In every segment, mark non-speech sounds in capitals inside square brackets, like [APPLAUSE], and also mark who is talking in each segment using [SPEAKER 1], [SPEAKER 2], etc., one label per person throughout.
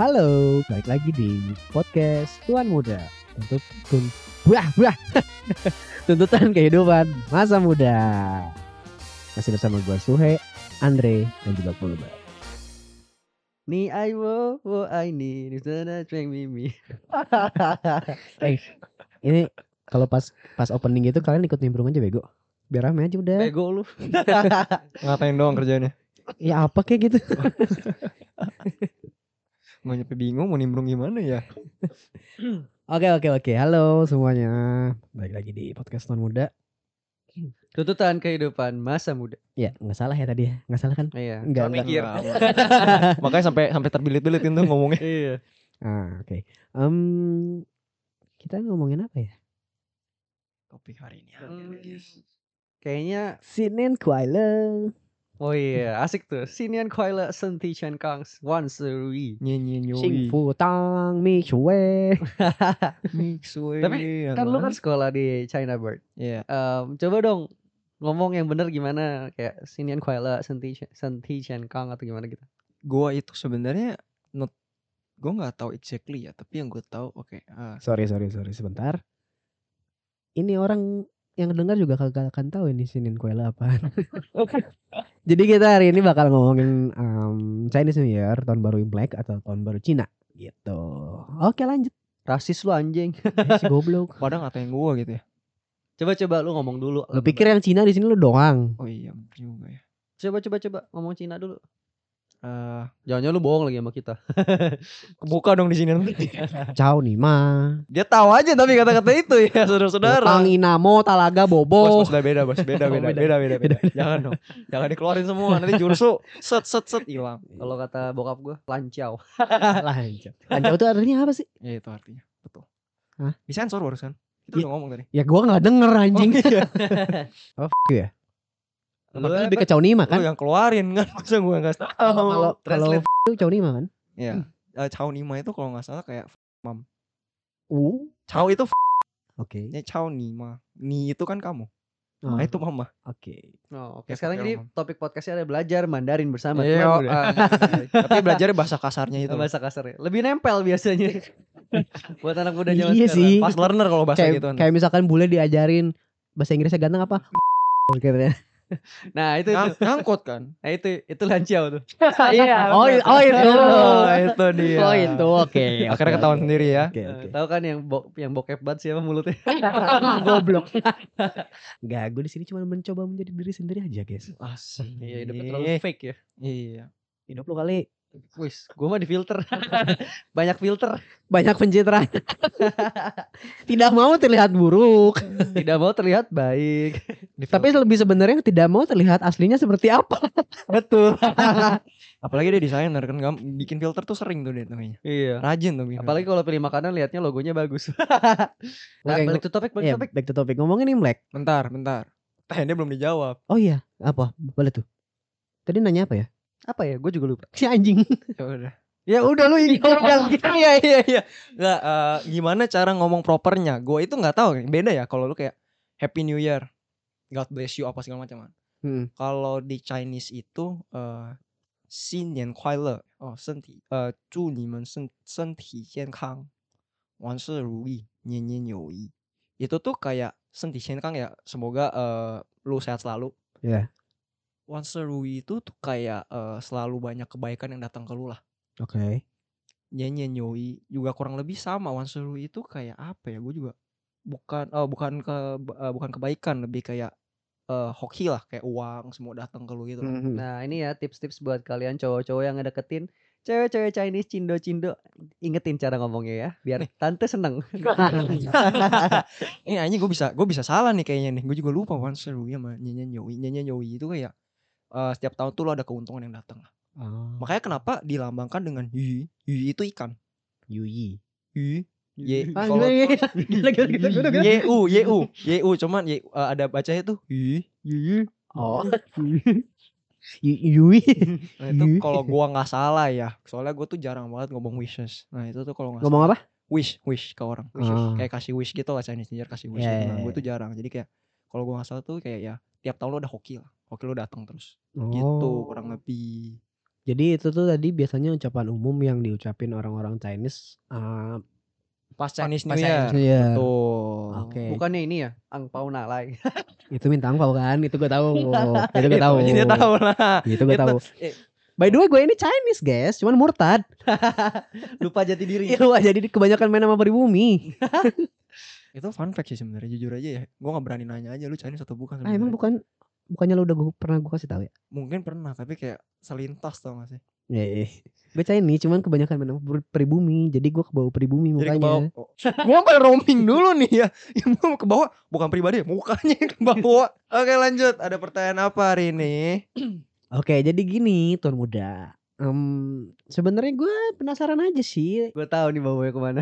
[SPEAKER 1] Halo, balik lagi di podcast Tuan Muda. Untuk tun, brah, brah. [LAUGHS] tuntutan kehidupan masa muda. Masih bersama gue Suhe, Andre, dan juga Pulba. Ni I wo wo I ni di sana cueng mimi. eh, ini kalau pas pas opening gitu kalian ikut nimbrung aja bego. Biar rame aja udah.
[SPEAKER 2] Bego lu.
[SPEAKER 3] Eh? [LAUGHS] Ngapain doang kerjanya?
[SPEAKER 1] Ya apa kayak gitu. [LAUGHS]
[SPEAKER 3] Mau nyampe bingung mau nimbrung gimana ya?
[SPEAKER 1] Oke oke oke. Halo semuanya. Balik lagi di podcast Tuan Muda.
[SPEAKER 2] Tuntutan kehidupan masa muda.
[SPEAKER 1] Ya, nggak salah ya tadi ya. Nggak salah kan?
[SPEAKER 2] Iya.
[SPEAKER 1] Enggak,
[SPEAKER 2] Suami Mikir.
[SPEAKER 3] Enggak. [LAUGHS] Makanya sampai sampai terbilit-bilit itu ngomongnya.
[SPEAKER 2] [LAUGHS] Iya.
[SPEAKER 1] Ah, oke. Em, kita ngomongin apa ya?
[SPEAKER 3] Topik hari ini.
[SPEAKER 2] Kayaknya
[SPEAKER 1] Sinin Kuala.
[SPEAKER 2] oh iya, asik tuh. Sinian Koila Senti Chen Kangs Wan Serui.
[SPEAKER 3] Nyenyi
[SPEAKER 1] Sing Fu Tang Mi Chue.
[SPEAKER 3] mix way.
[SPEAKER 2] Tapi, Kan lu kan sekolah di China Bird.
[SPEAKER 3] Iya.
[SPEAKER 2] Em, coba dong ngomong yang bener gimana kayak Sinian Koila Senti Chen- Senti Chen Kang atau gimana gitu.
[SPEAKER 3] Gua itu sebenarnya not gua nggak tahu exactly ya, tapi yang gua tahu oke. ah,
[SPEAKER 1] [LAUGHS] Sorry, sorry, sorry sebentar. Ini orang yang dengar juga kagak akan tahu ini Sinin Kuala [LAUGHS] apaan. Jadi kita hari ini bakal ngomongin em, Chinese New Year, tahun baru Imlek atau tahun baru Cina gitu. Oke lanjut.
[SPEAKER 2] Rasis lu anjing.
[SPEAKER 1] [LAUGHS] Eh, Si goblok.
[SPEAKER 3] Padahal ngatain gua gitu ya.
[SPEAKER 2] Coba coba lu ngomong dulu.
[SPEAKER 1] Lu pikir yang Cina di sini lu [LAUGHS] doang.
[SPEAKER 3] Oh iya, bener juga ya.
[SPEAKER 2] Coba coba coba ngomong Cina dulu.
[SPEAKER 3] Eh,
[SPEAKER 2] Jangan-jangan lu bohong lagi sama kita.
[SPEAKER 3] kebuka dong di sini nanti.
[SPEAKER 1] [LAUGHS] Iya. Ciao nih ma.
[SPEAKER 3] Dia tahu aja tapi kata-kata itu ya,
[SPEAKER 1] Utang
[SPEAKER 3] saudara-saudara.
[SPEAKER 1] Inamo Talaga [LAUGHS]
[SPEAKER 3] Bos,
[SPEAKER 1] Bobo.
[SPEAKER 3] bos, beda, bos,
[SPEAKER 1] Oh,
[SPEAKER 3] beda,
[SPEAKER 1] beda.
[SPEAKER 3] beda, beda, beda, beda.
[SPEAKER 1] Beda, beda.
[SPEAKER 3] Jangan dong, jangan dikeluarin semua nanti jursu, set, set, set, hilang.
[SPEAKER 2] Kalau kata bokap gue, lancau.
[SPEAKER 1] Lanjut. Lanjut itu Kan artinya apa sih?
[SPEAKER 3] Ya itu artinya, betul.
[SPEAKER 1] Hah?
[SPEAKER 3] Di sensor barusan. Kita
[SPEAKER 1] Iya.
[SPEAKER 3] udah ngomong tadi. iya.
[SPEAKER 1] Ya gua nggak denger anjing. [LAUGHS] Iya. Oh, f- you ya.
[SPEAKER 3] Lu
[SPEAKER 1] Tapi lebih
[SPEAKER 3] apa?
[SPEAKER 1] ke Caunima
[SPEAKER 3] Lu
[SPEAKER 1] kan? Oh,
[SPEAKER 3] yang keluarin kan, [LAUGHS] masa gue gak tau.
[SPEAKER 1] Kalau kalau
[SPEAKER 3] Translate.
[SPEAKER 1] f- itu Caunima kan?
[SPEAKER 3] Ya, Eh, Cao Nima itu kalau gak salah kayak, f-
[SPEAKER 1] Uh,
[SPEAKER 3] Cao itu f-
[SPEAKER 1] oke.
[SPEAKER 3] nya Cao Nima. Ni itu kan kamu,
[SPEAKER 1] Ah,
[SPEAKER 3] nah itu
[SPEAKER 1] [LAUGHS]
[SPEAKER 3] mama.
[SPEAKER 1] Oke.
[SPEAKER 2] Oh, oke.
[SPEAKER 3] Kayak
[SPEAKER 2] Sekarang
[SPEAKER 3] pakai
[SPEAKER 2] jadi
[SPEAKER 3] omong.
[SPEAKER 2] topik podcastnya ada belajar Mandarin bersama.
[SPEAKER 3] Iya,
[SPEAKER 2] Cuman [LAUGHS] udah-
[SPEAKER 3] Tapi belajar bahasa kasarnya itu.
[SPEAKER 2] bahasa kasarnya. Lebih nempel biasanya. [LAUGHS] Buat anak muda zaman
[SPEAKER 1] Iya
[SPEAKER 2] sekarang.
[SPEAKER 1] sih.
[SPEAKER 3] Pas learner kalau bahasa
[SPEAKER 1] Kayak
[SPEAKER 3] gitu.
[SPEAKER 1] kayak misalkan bule diajarin bahasa Inggrisnya ganteng apa? Kira-kira.
[SPEAKER 2] Nah,
[SPEAKER 1] gitu.
[SPEAKER 2] itu itu.
[SPEAKER 3] Ngang- Ngangkut kan.
[SPEAKER 2] Nah, itu itu lancau tuh.
[SPEAKER 1] Oh, i- oh
[SPEAKER 2] [LAUGHS]
[SPEAKER 1] itu.
[SPEAKER 3] Oh, itu dia.
[SPEAKER 1] Oh itu oke.
[SPEAKER 3] Akhirnya
[SPEAKER 1] oke,
[SPEAKER 3] ketahuan
[SPEAKER 1] oke.
[SPEAKER 3] sendiri ya.
[SPEAKER 1] Oke,
[SPEAKER 2] Eh,
[SPEAKER 1] oke.
[SPEAKER 2] Tahu kan yang bo yang bokep banget siapa mulutnya?
[SPEAKER 1] Goblok. Enggak, gue di sini cuma mencoba menjadi diri sendiri aja, guys.
[SPEAKER 3] Asik.
[SPEAKER 2] Iya, hidupnya terlalu fake ya.
[SPEAKER 3] Iya.
[SPEAKER 1] Hidup lu kali
[SPEAKER 2] Wis, gua mah di filter. [LAUGHS] Banyak filter.
[SPEAKER 1] banyak pencitraan. [LAUGHS] tidak mau terlihat buruk,
[SPEAKER 2] Tidak mau terlihat baik.
[SPEAKER 3] Di
[SPEAKER 1] tapi lebih sebenarnya tidak mau terlihat aslinya seperti apa.
[SPEAKER 2] Betul.
[SPEAKER 3] Apalagi dia desainer kan gam- bikin filter tuh sering tuh dia tuh kayaknya.
[SPEAKER 2] iya.
[SPEAKER 3] Rajin tuh bikin.
[SPEAKER 2] Apalagi kalau pilih makanan lihatnya logonya bagus. nah,
[SPEAKER 1] Oke,
[SPEAKER 2] balik to topik,
[SPEAKER 1] Ya,
[SPEAKER 2] balik to topik.
[SPEAKER 1] back to topic. Ngomongin Imlek.
[SPEAKER 3] filter. bentar, bentar. Eh, dia belum dijawab.
[SPEAKER 1] Oh iya, apa? Boleh tuh. Tadi nanya apa ya? [LAUGHS]
[SPEAKER 2] Apa ya? Gue juga lupa.
[SPEAKER 1] Si anjing.
[SPEAKER 3] Ya udah.
[SPEAKER 2] Ya udah
[SPEAKER 3] [LAUGHS]
[SPEAKER 2] lu ini
[SPEAKER 3] Iya iya iya iya. Nggak, eh, gimana cara ngomong propernya? Gue itu nggak tahu. Beda ya kalau lu kayak Happy New Year, God bless you apa segala macam.
[SPEAKER 1] Hmm.
[SPEAKER 3] Kalau di Chinese itu eh, 新年快乐, oh 身体, eh, 祝你们身-身体健康,万事如意,年年有余. Itu tuh kayak 身体健康 ya, semoga eh, lu sehat selalu.
[SPEAKER 1] Iya.
[SPEAKER 3] Wanserui itu tuh kayak eh, selalu banyak kebaikan yang datang ke lu lah.
[SPEAKER 1] Oke.
[SPEAKER 3] Nyenyen yoi juga kurang lebih sama Wanserui itu kayak apa ya? Gue juga bukan eh bukan ke eh, bukan kebaikan lebih kayak eh, hoki lah kayak uang semua datang ke lu gitu.
[SPEAKER 1] [LAUGHS]
[SPEAKER 3] [LAUGHS]
[SPEAKER 2] [LAUGHS]
[SPEAKER 3] loh.
[SPEAKER 1] Mhm.
[SPEAKER 2] Nah ini ya tips-tips buat kalian cowok-cowok yang ngedeketin Cewek-cewek Chinese cindo-cindo Ingetin cara ngomongnya ya Biar tante seneng
[SPEAKER 1] Ah,
[SPEAKER 3] Ini aja gue Eh, bisa gue bisa salah nih kayaknya nih. Gue juga lupa Wanserui sama nyenyen yoi. Nyenyen yoi itu kayak eh, setiap tahun tuh lo ada keuntungan yang datang.
[SPEAKER 1] Ah,
[SPEAKER 3] Makanya kenapa dilambangkan dengan yui. Yui itu ikan.
[SPEAKER 1] Yui.
[SPEAKER 3] Yui. Ye.
[SPEAKER 1] Ah,
[SPEAKER 3] Kalau-
[SPEAKER 1] gila, gila, gila, gila, gila, gila, gila.
[SPEAKER 3] YU YU YU cuman Y- eh, ada bacanya tuh Y Y
[SPEAKER 1] Oh.
[SPEAKER 3] Gitu.
[SPEAKER 1] [LAUGHS] Yu- Yui.
[SPEAKER 3] nah,
[SPEAKER 1] Y.
[SPEAKER 3] itu kalau gua nggak salah ya soalnya gua tuh jarang banget ngomong wishes nah itu tuh kalau nggak
[SPEAKER 1] Ngomong apa?
[SPEAKER 3] salah, wish wish ke orang
[SPEAKER 1] Ah.
[SPEAKER 3] kayak kasih wish gitu lah Chinese New Year kasih wish
[SPEAKER 1] Ya, ya,
[SPEAKER 3] gitu. nah,
[SPEAKER 1] ya.
[SPEAKER 3] gua tuh jarang jadi kayak kalau gua nggak salah tuh kayak ya tiap tahun lu ada hoki lah hoki lu datang terus
[SPEAKER 1] Oh.
[SPEAKER 3] gitu kurang lebih
[SPEAKER 1] Jadi itu tuh tadi biasanya ucapan umum yang diucapin orang-orang Chinese. ah,
[SPEAKER 3] Pas Chinese
[SPEAKER 1] pas
[SPEAKER 3] New Year.
[SPEAKER 1] Chinese New Year.
[SPEAKER 3] Tuh.
[SPEAKER 1] Oke.
[SPEAKER 2] Bukannya ini ya, angpau nalai.
[SPEAKER 1] Itu minta angpau kan? Itu gue
[SPEAKER 3] [LAUGHS]
[SPEAKER 1] tahu. itu gue
[SPEAKER 3] Itu
[SPEAKER 1] tahu.
[SPEAKER 3] aja Dia Iya, tahu lah.
[SPEAKER 1] Itu gue
[SPEAKER 3] Itu-
[SPEAKER 1] tahu.
[SPEAKER 3] eh,
[SPEAKER 1] By the way, gue ini Chinese guys, cuman murtad.
[SPEAKER 2] [LAUGHS] Lupa jati diri.
[SPEAKER 1] Iya, wah, jadi kebanyakan main sama
[SPEAKER 3] [LAUGHS]
[SPEAKER 1] pribumi.
[SPEAKER 3] Itu fun fact sih sebenarnya jujur aja ya. Gue gak berani nanya aja lu Chinese atau bukan
[SPEAKER 1] Ah, emang
[SPEAKER 3] sebenarnya.
[SPEAKER 1] bukan bukannya lu udah gua, pernah gue kasih tahu ya?
[SPEAKER 3] Mungkin pernah tapi kayak selintas tau gak sih.
[SPEAKER 1] Iya, iya. Gue Chinese, cuman kebanyakan main sama pri- pribumi. Jadi gue kebawa pribumi mukanya.
[SPEAKER 3] Jadi ke bawah. [LAUGHS] Gue sampai roaming dulu nih ya. [LAUGHS] Ya mau ke bawah bukan pribadi, mukanya yang ke bawah. [LAUGHS] Oke lanjut, ada pertanyaan apa hari ini?
[SPEAKER 1] Oke, jadi gini, tuan muda. Em, sebenarnya gue penasaran aja [LAUGHS] sih.
[SPEAKER 2] Gue tahu nih bawanya kemana.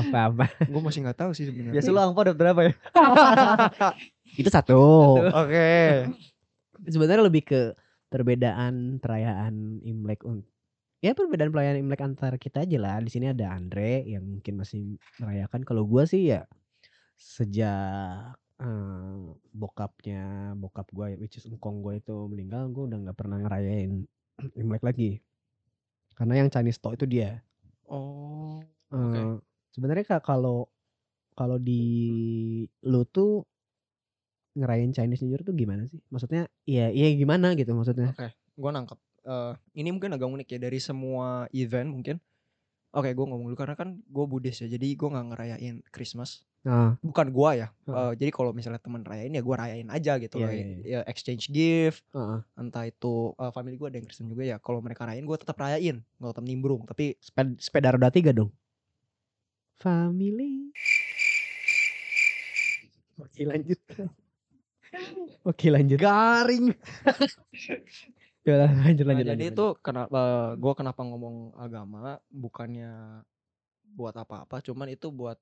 [SPEAKER 1] Apa-apa.
[SPEAKER 3] Gue Nah, masih nggak tahu sih sebenarnya.
[SPEAKER 2] Biasa lu angpau dapat berapa ya?
[SPEAKER 1] Itu satu.
[SPEAKER 3] Oke.
[SPEAKER 1] sebenarnya lebih ke perbedaan perayaan Imlek un- ya perbedaan perayaan Imlek antar kita aja lah di sini ada Andre yang mungkin masih merayakan kalau gua sih ya sejak eh, bokapnya bokap gua which is engkong gua itu meninggal gua udah nggak pernah ngerayain Imlek lagi karena yang Chinese to itu dia
[SPEAKER 3] [LAUGHS] Oh.
[SPEAKER 1] Eh,
[SPEAKER 3] Oke.
[SPEAKER 1] sebenarnya ka- kalau kalau di lu tuh ngerayain Chinese New Year tuh gimana sih? Maksudnya ya iya gimana gitu maksudnya?
[SPEAKER 3] Oke, gue nangkep. Eh, ini mungkin agak unik ya dari semua event mungkin. Oke, gue ngomong dulu karena kan gue Buddhis ya, jadi gue nggak ngerayain Christmas.
[SPEAKER 1] Nah,
[SPEAKER 3] Bukan gue ya.
[SPEAKER 1] Heeh.
[SPEAKER 3] eh, jadi kalau misalnya teman rayain ya gue rayain aja gitu
[SPEAKER 1] Iya,
[SPEAKER 3] loh.
[SPEAKER 1] iya,
[SPEAKER 3] Ya, exchange gift,
[SPEAKER 1] heeh.
[SPEAKER 3] entah itu eh, family gue ada yang Kristen juga ya. Kalau mereka rayain gue tetap rayain, nggak tetap nimbrung. Tapi
[SPEAKER 1] seped- sepeda roda tiga dong. Family. Oke lanjut. Oke lanjut.
[SPEAKER 2] Garing.
[SPEAKER 1] [LAUGHS] Ya, lanjut
[SPEAKER 3] Nah,
[SPEAKER 1] lanjut.
[SPEAKER 3] jadi
[SPEAKER 1] lanjut,
[SPEAKER 3] itu kenapa gue kenapa ngomong agama bukannya buat apa-apa, cuman itu buat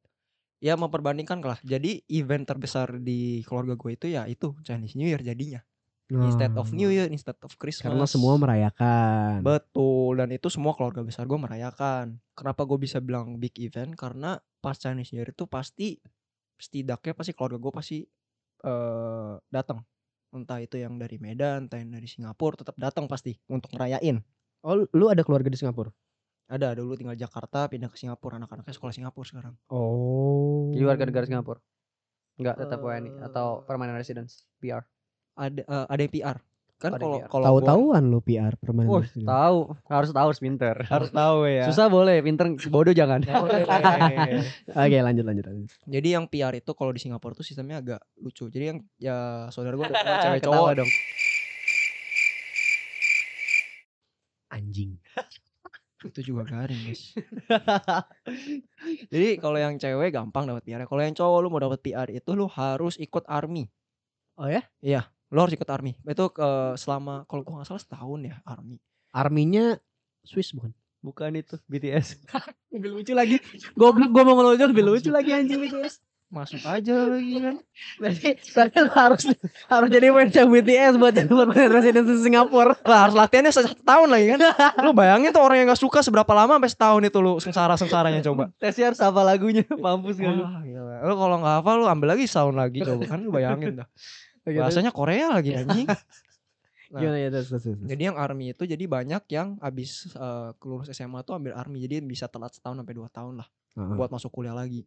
[SPEAKER 3] ya memperbandingkan lah. Jadi event terbesar di keluarga gue itu ya itu Chinese New Year jadinya.
[SPEAKER 1] lanjut.
[SPEAKER 3] Instead of
[SPEAKER 1] Nah,
[SPEAKER 3] New Year, instead of Christmas.
[SPEAKER 1] Karena semua merayakan.
[SPEAKER 3] Betul, dan itu semua keluarga besar gue merayakan. Kenapa gue bisa bilang big event? Karena pas Chinese New Year itu pasti setidaknya pasti keluarga gue pasti eh datang. Entah itu yang dari Medan, entah yang dari Singapura, tetap datang pasti untuk ngerayain.
[SPEAKER 1] Oh, lu- lu ada keluarga di Singapura?
[SPEAKER 3] Ada dulu tinggal Jakarta, pindah ke Singapura, anak-anaknya sekolah Singapura sekarang.
[SPEAKER 1] Oh.
[SPEAKER 2] Jadi warga negara Singapura. Enggak, tetap WNI atau
[SPEAKER 3] Eh.
[SPEAKER 2] permanent residence, PR.
[SPEAKER 3] Ada eh, ada yang PR. Kan
[SPEAKER 2] Ada yang PR.
[SPEAKER 3] kalau kalau
[SPEAKER 2] [LAUGHS]
[SPEAKER 3] gua-
[SPEAKER 1] Tahu-tahuan lu PR permanen.
[SPEAKER 3] Wah,
[SPEAKER 1] resident.
[SPEAKER 2] Tahu, harus tahu harus pinter.
[SPEAKER 3] harus tahu ya.
[SPEAKER 2] Susah boleh, pinter bodoh jangan.
[SPEAKER 3] Oke.
[SPEAKER 1] Oke lanjut lanjut lanjut.
[SPEAKER 3] Jadi yang PR itu kalau di Singapura tuh sistemnya agak lucu. Jadi yang ya
[SPEAKER 2] [LAUGHS]
[SPEAKER 3] saudara gue cewek
[SPEAKER 2] Ketawa
[SPEAKER 3] cowok
[SPEAKER 2] dong.
[SPEAKER 1] Anjing.
[SPEAKER 3] itu juga garing guys. [LAUGHS] Jadi kalau yang cewek gampang dapat PR. Kalau yang cowok lu mau dapat PR itu lu harus ikut army.
[SPEAKER 1] Oh ya?
[SPEAKER 3] Iya, lu harus ikut army. Itu eh, selama kalau gua nggak salah setahun ya army.
[SPEAKER 1] Arminya Swiss bukan?
[SPEAKER 2] Bukan itu BTS.
[SPEAKER 1] Lebih lucu lagi. Goblok gue mau ngelojok lebih [LAUGHS] lucu lagi anjing BTS.
[SPEAKER 3] Masuk aja lagi kan.
[SPEAKER 1] Berarti berarti lu harus harus jadi macam BTS buat jadi permanent resident di Singapura.
[SPEAKER 3] Lah harus latihannya satu tahun lagi kan. Lu bayangin tuh orang yang nggak suka seberapa lama sampai setahun itu lu sengsara-sengsaranya coba.
[SPEAKER 2] Tesnya harus apa lagunya, [LAUGHS] mampus gak lu?
[SPEAKER 3] Wah, gila. Lu kalau nggak hafal lu ambil lagi setahun lagi coba kan lu bayangin [LAUGHS] dah. Bahasanya Korea
[SPEAKER 1] Iya,
[SPEAKER 3] lagi anjing. Nah,
[SPEAKER 1] [LAUGHS] Gimana ya terus terus. terus.
[SPEAKER 3] Jadi yang army itu jadi banyak yang abis eh, lulus SMA tuh ambil army jadi bisa telat setahun sampai dua tahun lah
[SPEAKER 1] Heeh.
[SPEAKER 3] buat masuk kuliah lagi.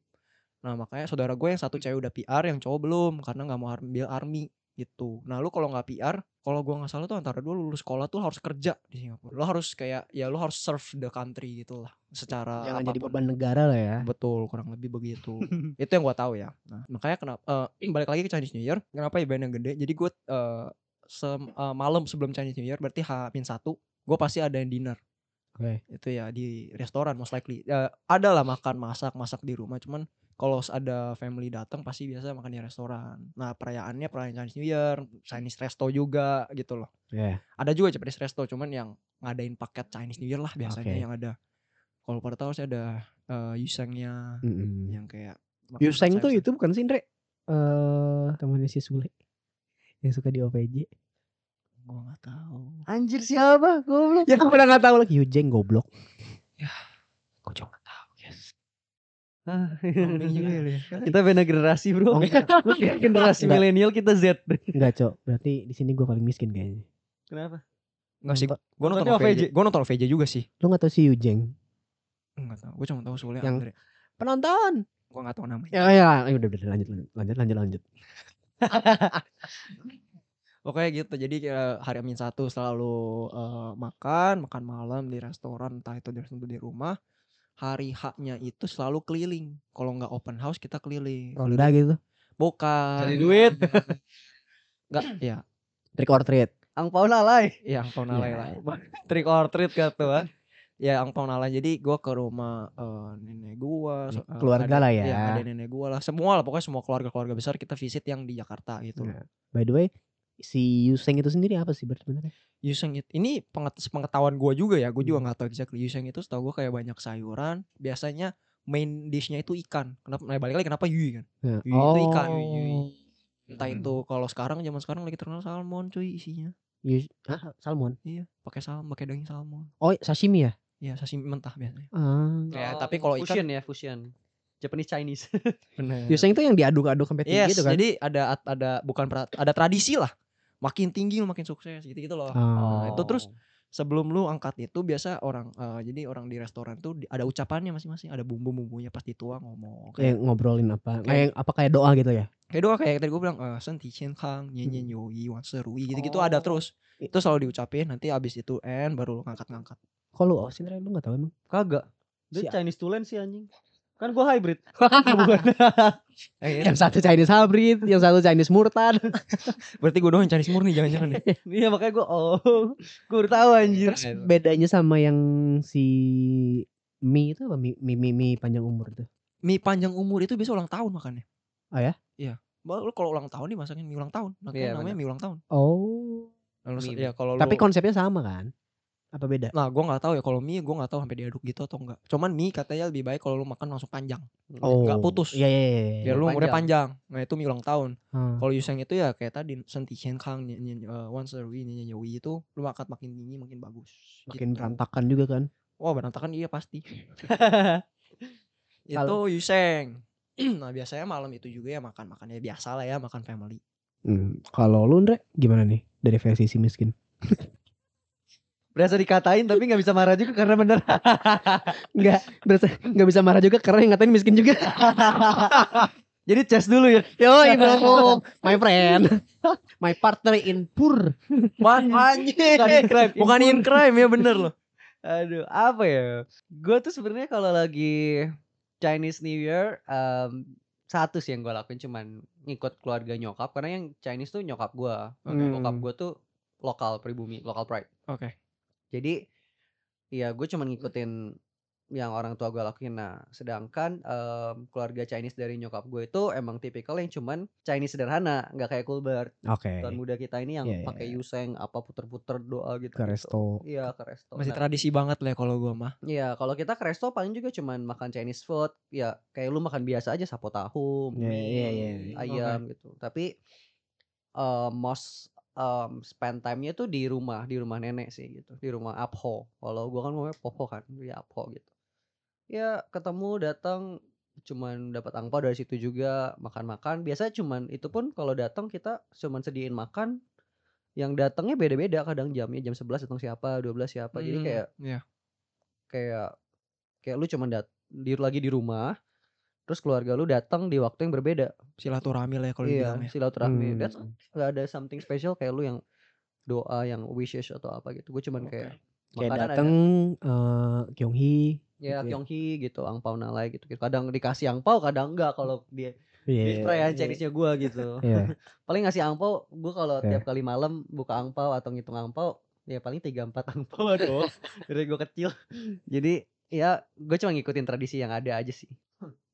[SPEAKER 3] Nah makanya saudara gue yang satu cewek udah PR yang cowok belum karena nggak mau ambil army gitu. Nah lu kalau nggak PR, kalau gue nggak salah tuh antara dua lulus sekolah tuh harus kerja di Singapura. Lo harus kayak ya lu harus serve the country gitu lah secara
[SPEAKER 1] Jangan jadi
[SPEAKER 3] apapun.
[SPEAKER 1] beban negara lah ya.
[SPEAKER 3] Betul, kurang lebih begitu. itu yang gua tahu ya. Nah, makanya kenapa eh, balik lagi ke Chinese New Year, kenapa event yang gede? Jadi gua eh, sem- eh, malam sebelum Chinese New Year berarti H-1 gua pasti ada yang dinner.
[SPEAKER 1] [LAUGHS] Oke.
[SPEAKER 3] Itu ya di restoran most likely. Eh, ada lah makan masak, masak di rumah, cuman kalau s- ada family datang pasti biasa makan di restoran. Nah, perayaannya perayaan Chinese New Year, Chinese resto juga gitu loh
[SPEAKER 1] Ya.
[SPEAKER 3] ada juga Japanese resto cuman yang ngadain paket Chinese New Year lah biasanya
[SPEAKER 1] Oke.
[SPEAKER 3] yang ada kalau pada tahu sih ada eh, Yusengnya
[SPEAKER 1] Mm-mm.
[SPEAKER 3] yang kayak makanan
[SPEAKER 1] Yuseng
[SPEAKER 3] sayur-
[SPEAKER 1] tuh itu bukan sih Andre? Eh temannya si Sule yang suka di OVJ.
[SPEAKER 3] gua nggak tahu
[SPEAKER 2] Anjir siapa? Goblok.
[SPEAKER 1] Ya aku udah nggak tahu lagi Yujeng goblok.
[SPEAKER 3] gua juga nggak tahu guys
[SPEAKER 2] Ah,
[SPEAKER 3] Rombeng juga ya lu ya.
[SPEAKER 2] kita beda generasi, Bro. generasi
[SPEAKER 1] Enggak.
[SPEAKER 2] milenial kita Z.
[SPEAKER 1] Enggak, Cok. Berarti di sini gua paling miskin kayaknya.
[SPEAKER 2] Kenapa?
[SPEAKER 3] Enggak sih,
[SPEAKER 1] Nonton-
[SPEAKER 3] gue nonton
[SPEAKER 2] nontonnya
[SPEAKER 3] OVJ. Gue nonton OVJ juga sih.
[SPEAKER 1] Lu gak tau si Yujeng?
[SPEAKER 3] Enggak tahu. Gue cuma tahu Sule
[SPEAKER 1] Yang-
[SPEAKER 3] Andre.
[SPEAKER 1] Penonton.
[SPEAKER 3] Gue enggak tahu namanya.
[SPEAKER 1] Ya ya, ayo, udah, udah, lanjut lanjut lanjut lanjut lanjut.
[SPEAKER 3] Pokoknya gitu. Jadi kayak hari Amin satu selalu eh, makan, makan malam di restoran, entah itu di restoran atau di rumah. Hari haknya itu selalu keliling. Kalau nggak open house kita keliling.
[SPEAKER 1] Ronda gitu.
[SPEAKER 3] Bukan.
[SPEAKER 2] Cari
[SPEAKER 3] [LAUGHS]
[SPEAKER 2] duit.
[SPEAKER 3] Enggak, ya.
[SPEAKER 1] Trick or treat.
[SPEAKER 2] Angpau lalai.
[SPEAKER 3] Ya, angpau nalai
[SPEAKER 1] Ya.
[SPEAKER 3] lah. [LAUGHS] Trick or treat gitu kan. Ya, angpau nalai. Jadi gua ke rumah eh, nenek gua, so- eh,
[SPEAKER 1] Keluarga lah
[SPEAKER 3] ada-
[SPEAKER 1] ya.
[SPEAKER 3] Iya, ada nenek gua lah. Semua lah pokoknya semua keluarga-keluarga besar kita visit yang di Jakarta gitu.
[SPEAKER 1] Nah, By the way, si Yuseng itu sendiri apa sih Nah, Bar, sebenarnya?
[SPEAKER 3] Yuseng itu ini penget, pengetahuan gua juga ya, gua juga
[SPEAKER 1] Hmm.
[SPEAKER 3] nggak tahu exactly Yuseng itu setahu gua kayak banyak sayuran, biasanya main dishnya itu ikan. Kenapa nah, balik lagi kenapa Yui kan?
[SPEAKER 1] Nah,
[SPEAKER 3] Yui itu ikan, Yui, Yui. Entah
[SPEAKER 1] Hmm.
[SPEAKER 3] itu kalau sekarang zaman sekarang lagi terkenal salmon cuy isinya.
[SPEAKER 1] Yus- Hah, salmon.
[SPEAKER 3] Iya, pakai salmon, pakai daging salmon.
[SPEAKER 1] Oh, sashimi ya?
[SPEAKER 3] Iya, sashimi mentah biasanya.
[SPEAKER 1] Ah.
[SPEAKER 3] Kayak, tapi kalau ikan-
[SPEAKER 2] fusion ya fusion. Japanese
[SPEAKER 1] [LAUGHS]
[SPEAKER 2] Chinese.
[SPEAKER 3] Benar.
[SPEAKER 1] Yuseng itu yang diaduk-aduk sampai tinggi
[SPEAKER 3] Yes,
[SPEAKER 1] gitu kan?
[SPEAKER 3] jadi ada at- ada bukan pra- ada tradisi lah. Makin tinggi lu makin sukses gitu-gitu loh.
[SPEAKER 1] Ah.
[SPEAKER 2] Nah,
[SPEAKER 3] itu terus Sebelum lu angkat itu biasa orang eh, jadi orang di restoran tuh di- ada ucapannya masing-masing, ada bumbu-bumbunya pas dituang ngomong.
[SPEAKER 1] kayak ngobrolin apa?
[SPEAKER 3] Kayak-
[SPEAKER 1] Kayak apa kayak doa gitu ya?
[SPEAKER 3] Kayak doa kayak tadi gue bilang eh sen ti qian kang
[SPEAKER 1] Hmm.
[SPEAKER 3] nyen nyen yoi wan serui gitu-gitu ada
[SPEAKER 2] Oh.
[SPEAKER 3] terus. Itu selalu diucapin nanti abis itu end baru lu ngangkat-ngangkat.
[SPEAKER 1] Kok lu oh, sih Ren? lu gak tahu emang?
[SPEAKER 2] Kagak.
[SPEAKER 1] Si-
[SPEAKER 2] Dia Chinese tulen sih anjing. Kan
[SPEAKER 1] [LAUGHS]
[SPEAKER 2] gua hybrid. Bukan.
[SPEAKER 3] Eh,
[SPEAKER 1] Yang satu Chinese hybrid, yang satu Chinese murtad.
[SPEAKER 3] berarti gue doang Chinese murni jangan-jangan ya. deh.
[SPEAKER 2] Iya makanya gua oh. Gua udah tahu anjir.
[SPEAKER 1] Terus bedanya sama yang si mie itu apa? Mie, mie, mie, mie panjang umur itu.
[SPEAKER 3] [LAUGHS] Mie panjang umur itu biasa ulang tahun makannya.
[SPEAKER 1] Oh ya?
[SPEAKER 3] Iya. Ba- Lu kalau ulang tahun dimasakin mie ulang tahun.
[SPEAKER 2] Iya,
[SPEAKER 3] Makanya namanya mie ulang tahun.
[SPEAKER 1] Oh.
[SPEAKER 3] Lalu se-
[SPEAKER 2] Mie,
[SPEAKER 3] ya kalau
[SPEAKER 1] Tapi
[SPEAKER 3] lu-
[SPEAKER 1] konsepnya sama kan? Apa beda?
[SPEAKER 3] Nah, gua nggak tahu ya kalau mie, gua nggak tahu sampai diaduk gitu atau enggak. Cuman mie katanya lebih baik kalau lu makan langsung panjang, nggak putus.
[SPEAKER 1] Iya, iya, iya. iya.
[SPEAKER 3] biar lu umurnya
[SPEAKER 2] panjang.
[SPEAKER 3] panjang. Nah, itu mie ulang tahun.
[SPEAKER 1] Ah.
[SPEAKER 3] Kalau Yuseng itu ya kayak tadi senti chen kang nyen- nyen- eh, once a week nyen- nyen- yoi itu lu makan makin tinggi makin bagus.
[SPEAKER 1] Makin
[SPEAKER 3] Gitu.
[SPEAKER 1] berantakan juga kan?
[SPEAKER 3] Wah, berantakan iya
[SPEAKER 2] [LAUGHS]
[SPEAKER 3] pasti. itu
[SPEAKER 1] Kalau-
[SPEAKER 3] Yuseng. [CLEARS THROAT] nah, biasanya malam itu juga ya makan makannya biasa lah ya, makan family.
[SPEAKER 1] Hmm. Kalau lu Ndre, gimana nih? Dari versi si miskin.
[SPEAKER 2] Berasa dikatain tapi nggak bisa marah juga karena bener.
[SPEAKER 1] Enggak, berasa enggak bisa marah juga karena yang ngatain miskin juga. [LAUGHS]
[SPEAKER 2] Jadi chest dulu ya.
[SPEAKER 1] Yo, bro. My
[SPEAKER 3] [LAUGHS]
[SPEAKER 1] friend. My partner in pur.
[SPEAKER 3] Man,
[SPEAKER 2] [LAUGHS] Bukan in crime.
[SPEAKER 3] [LAUGHS] bukan in crime ya bener
[SPEAKER 2] [LAUGHS]
[SPEAKER 3] loh.
[SPEAKER 2] Aduh, apa ya? Gue tuh sebenarnya kalau lagi Chinese New Year, em, satu sih yang gue lakuin cuman ngikut keluarga nyokap karena yang Chinese tuh nyokap gue, bokap
[SPEAKER 1] Hmm.
[SPEAKER 2] gue tuh lokal pribumi, lokal pride.
[SPEAKER 3] Oke.
[SPEAKER 2] Jadi, ya gue cuman ngikutin yang orang tua gue lakuin. Nah, sedangkan em, keluarga Chinese dari nyokap gue itu emang tipikal yang cuman Chinese sederhana, nggak kayak Kulber.
[SPEAKER 1] Oke.
[SPEAKER 2] Tuan muda kita ini yang
[SPEAKER 1] Iya, iya,
[SPEAKER 2] pakai
[SPEAKER 1] iya.
[SPEAKER 2] yuseng apa puter-puter doa gitu.
[SPEAKER 1] Ke resto.
[SPEAKER 2] Iya, ke resto.
[SPEAKER 3] Masih
[SPEAKER 2] Nah,
[SPEAKER 3] tradisi banget lah ya kalau gua mah.
[SPEAKER 2] Iya, kalau kita ke resto paling juga cuman makan Chinese food, ya kayak lu makan biasa aja sapo tahu,
[SPEAKER 1] Iya,
[SPEAKER 2] mie,
[SPEAKER 1] iya, iya, iya.
[SPEAKER 2] ayam gitu. Tapi eh most em, spend time-nya tuh di rumah, di rumah nenek sih gitu, di rumah Apho. Kalau gua kan ngomongnya Popo kan, ya Apho gitu. Ya ketemu datang cuman dapat angpau dari situ juga makan-makan. Biasa cuman itu pun kalau datang kita cuman sediain makan yang datangnya beda-beda kadang jamnya jam 11 datang siapa, 12 siapa. Jadi
[SPEAKER 3] Hmm,
[SPEAKER 2] kayak
[SPEAKER 3] iya.
[SPEAKER 2] kayak kayak lu cuman dat di lagi di rumah terus keluarga lu datang di waktu yang berbeda
[SPEAKER 3] silaturahmi lah ya kalau
[SPEAKER 2] iya
[SPEAKER 3] dibilang ya.
[SPEAKER 2] silaturahmi
[SPEAKER 1] Hmm.
[SPEAKER 2] dan nggak ada something special kayak lu yang doa yang wishes atau apa gitu gue cuman kayak
[SPEAKER 1] Kayak
[SPEAKER 2] makanan ada.
[SPEAKER 1] dateng eh Kyunghee.
[SPEAKER 2] ya
[SPEAKER 1] gitu ya.
[SPEAKER 2] kyonghi gitu angpau nalai gitu, gitu. kadang dikasih angpau kadang enggak kalau dia
[SPEAKER 1] Iya.
[SPEAKER 2] yeah, perayaan Chinese-nya gue gitu
[SPEAKER 1] [LAUGHS] Iya.
[SPEAKER 2] paling ngasih angpau gue kalau
[SPEAKER 1] Oke.
[SPEAKER 2] tiap kali malam buka angpau atau ngitung angpau ya paling tiga empat [LAUGHS] angpau aduh dari gue kecil jadi ya gue cuma ngikutin tradisi yang ada aja sih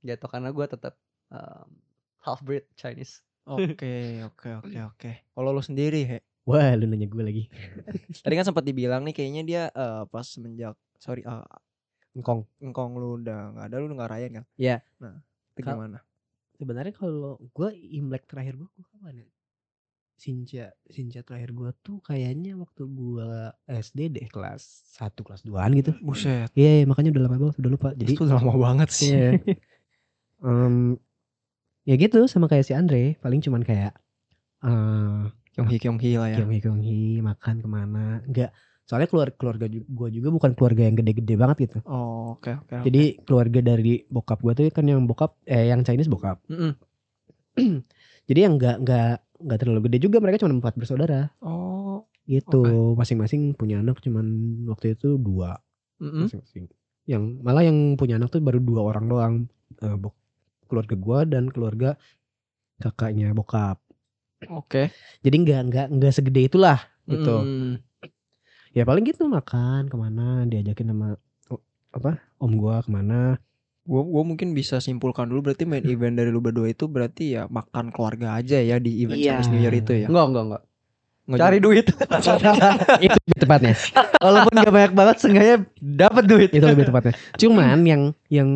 [SPEAKER 2] jatuh karena gue tetap um, half breed Chinese
[SPEAKER 3] Oke, [LAUGHS] oke, oke, oke. Kalau lo sendiri, He.
[SPEAKER 1] Wah, lu nanya gue lagi.
[SPEAKER 3] Tadi kan sempat dibilang nih kayaknya dia eh, pas semenjak sorry eh,
[SPEAKER 1] Engkong.
[SPEAKER 3] engkong lu udah nggak ada lu nggak rayain kan?
[SPEAKER 1] Iya.
[SPEAKER 3] Nah, itu
[SPEAKER 1] Kal-
[SPEAKER 3] gimana?
[SPEAKER 1] Sebenarnya kalau gue Imlek terakhir gue gue kapan ya? Sinja, Sinja terakhir gue tuh kayaknya waktu gue SD deh kelas 1 kelas 2-an gitu.
[SPEAKER 3] Hmm, Buset.
[SPEAKER 1] Iya, iya, makanya udah lama banget, udah lupa. Jadi
[SPEAKER 3] Itu udah lama banget sih.
[SPEAKER 1] [LAUGHS] Iya. Em, ya gitu sama kayak si Andre, paling cuman kayak eh
[SPEAKER 3] Kyonghi Kyonghi lah ya.
[SPEAKER 1] kyonghi kyonghi makan kemana, nggak soalnya keluarga keluarga gue juga bukan keluarga yang gede-gede banget gitu
[SPEAKER 3] Oh, oke oke. oke.
[SPEAKER 1] jadi keluarga dari bokap gue tuh kan yang bokap eh yang Chinese bokap
[SPEAKER 2] Mm-mm.
[SPEAKER 1] [CLEARS THROAT] jadi yang nggak nggak nggak terlalu gede juga mereka cuma empat bersaudara
[SPEAKER 3] oh,
[SPEAKER 1] gitu masing-masing punya anak cuman waktu itu dua
[SPEAKER 2] Mm-mm.
[SPEAKER 1] masing-masing yang malah yang punya anak tuh baru dua orang doang Eh, bok- keluarga gue dan keluarga kakaknya bokap
[SPEAKER 3] oke.
[SPEAKER 1] jadi nggak nggak nggak segede itulah gitu
[SPEAKER 3] Mm,
[SPEAKER 1] ya paling gitu makan kemana diajakin sama o- apa om gue kemana
[SPEAKER 3] Gua gua mungkin bisa simpulkan dulu berarti main event dari lu berdua itu berarti ya makan keluarga aja ya di event
[SPEAKER 1] Iya.
[SPEAKER 3] Chinese New Year itu ya.
[SPEAKER 2] Enggak, enggak, enggak.
[SPEAKER 3] Nggak
[SPEAKER 2] Cari
[SPEAKER 3] juga.
[SPEAKER 2] duit.
[SPEAKER 1] [LAUGHS]
[SPEAKER 2] [LAUGHS]
[SPEAKER 1] itu lebih tepatnya
[SPEAKER 2] Walaupun gak banyak banget seenggaknya dapat duit.
[SPEAKER 1] itu lebih tepatnya cuman yang yang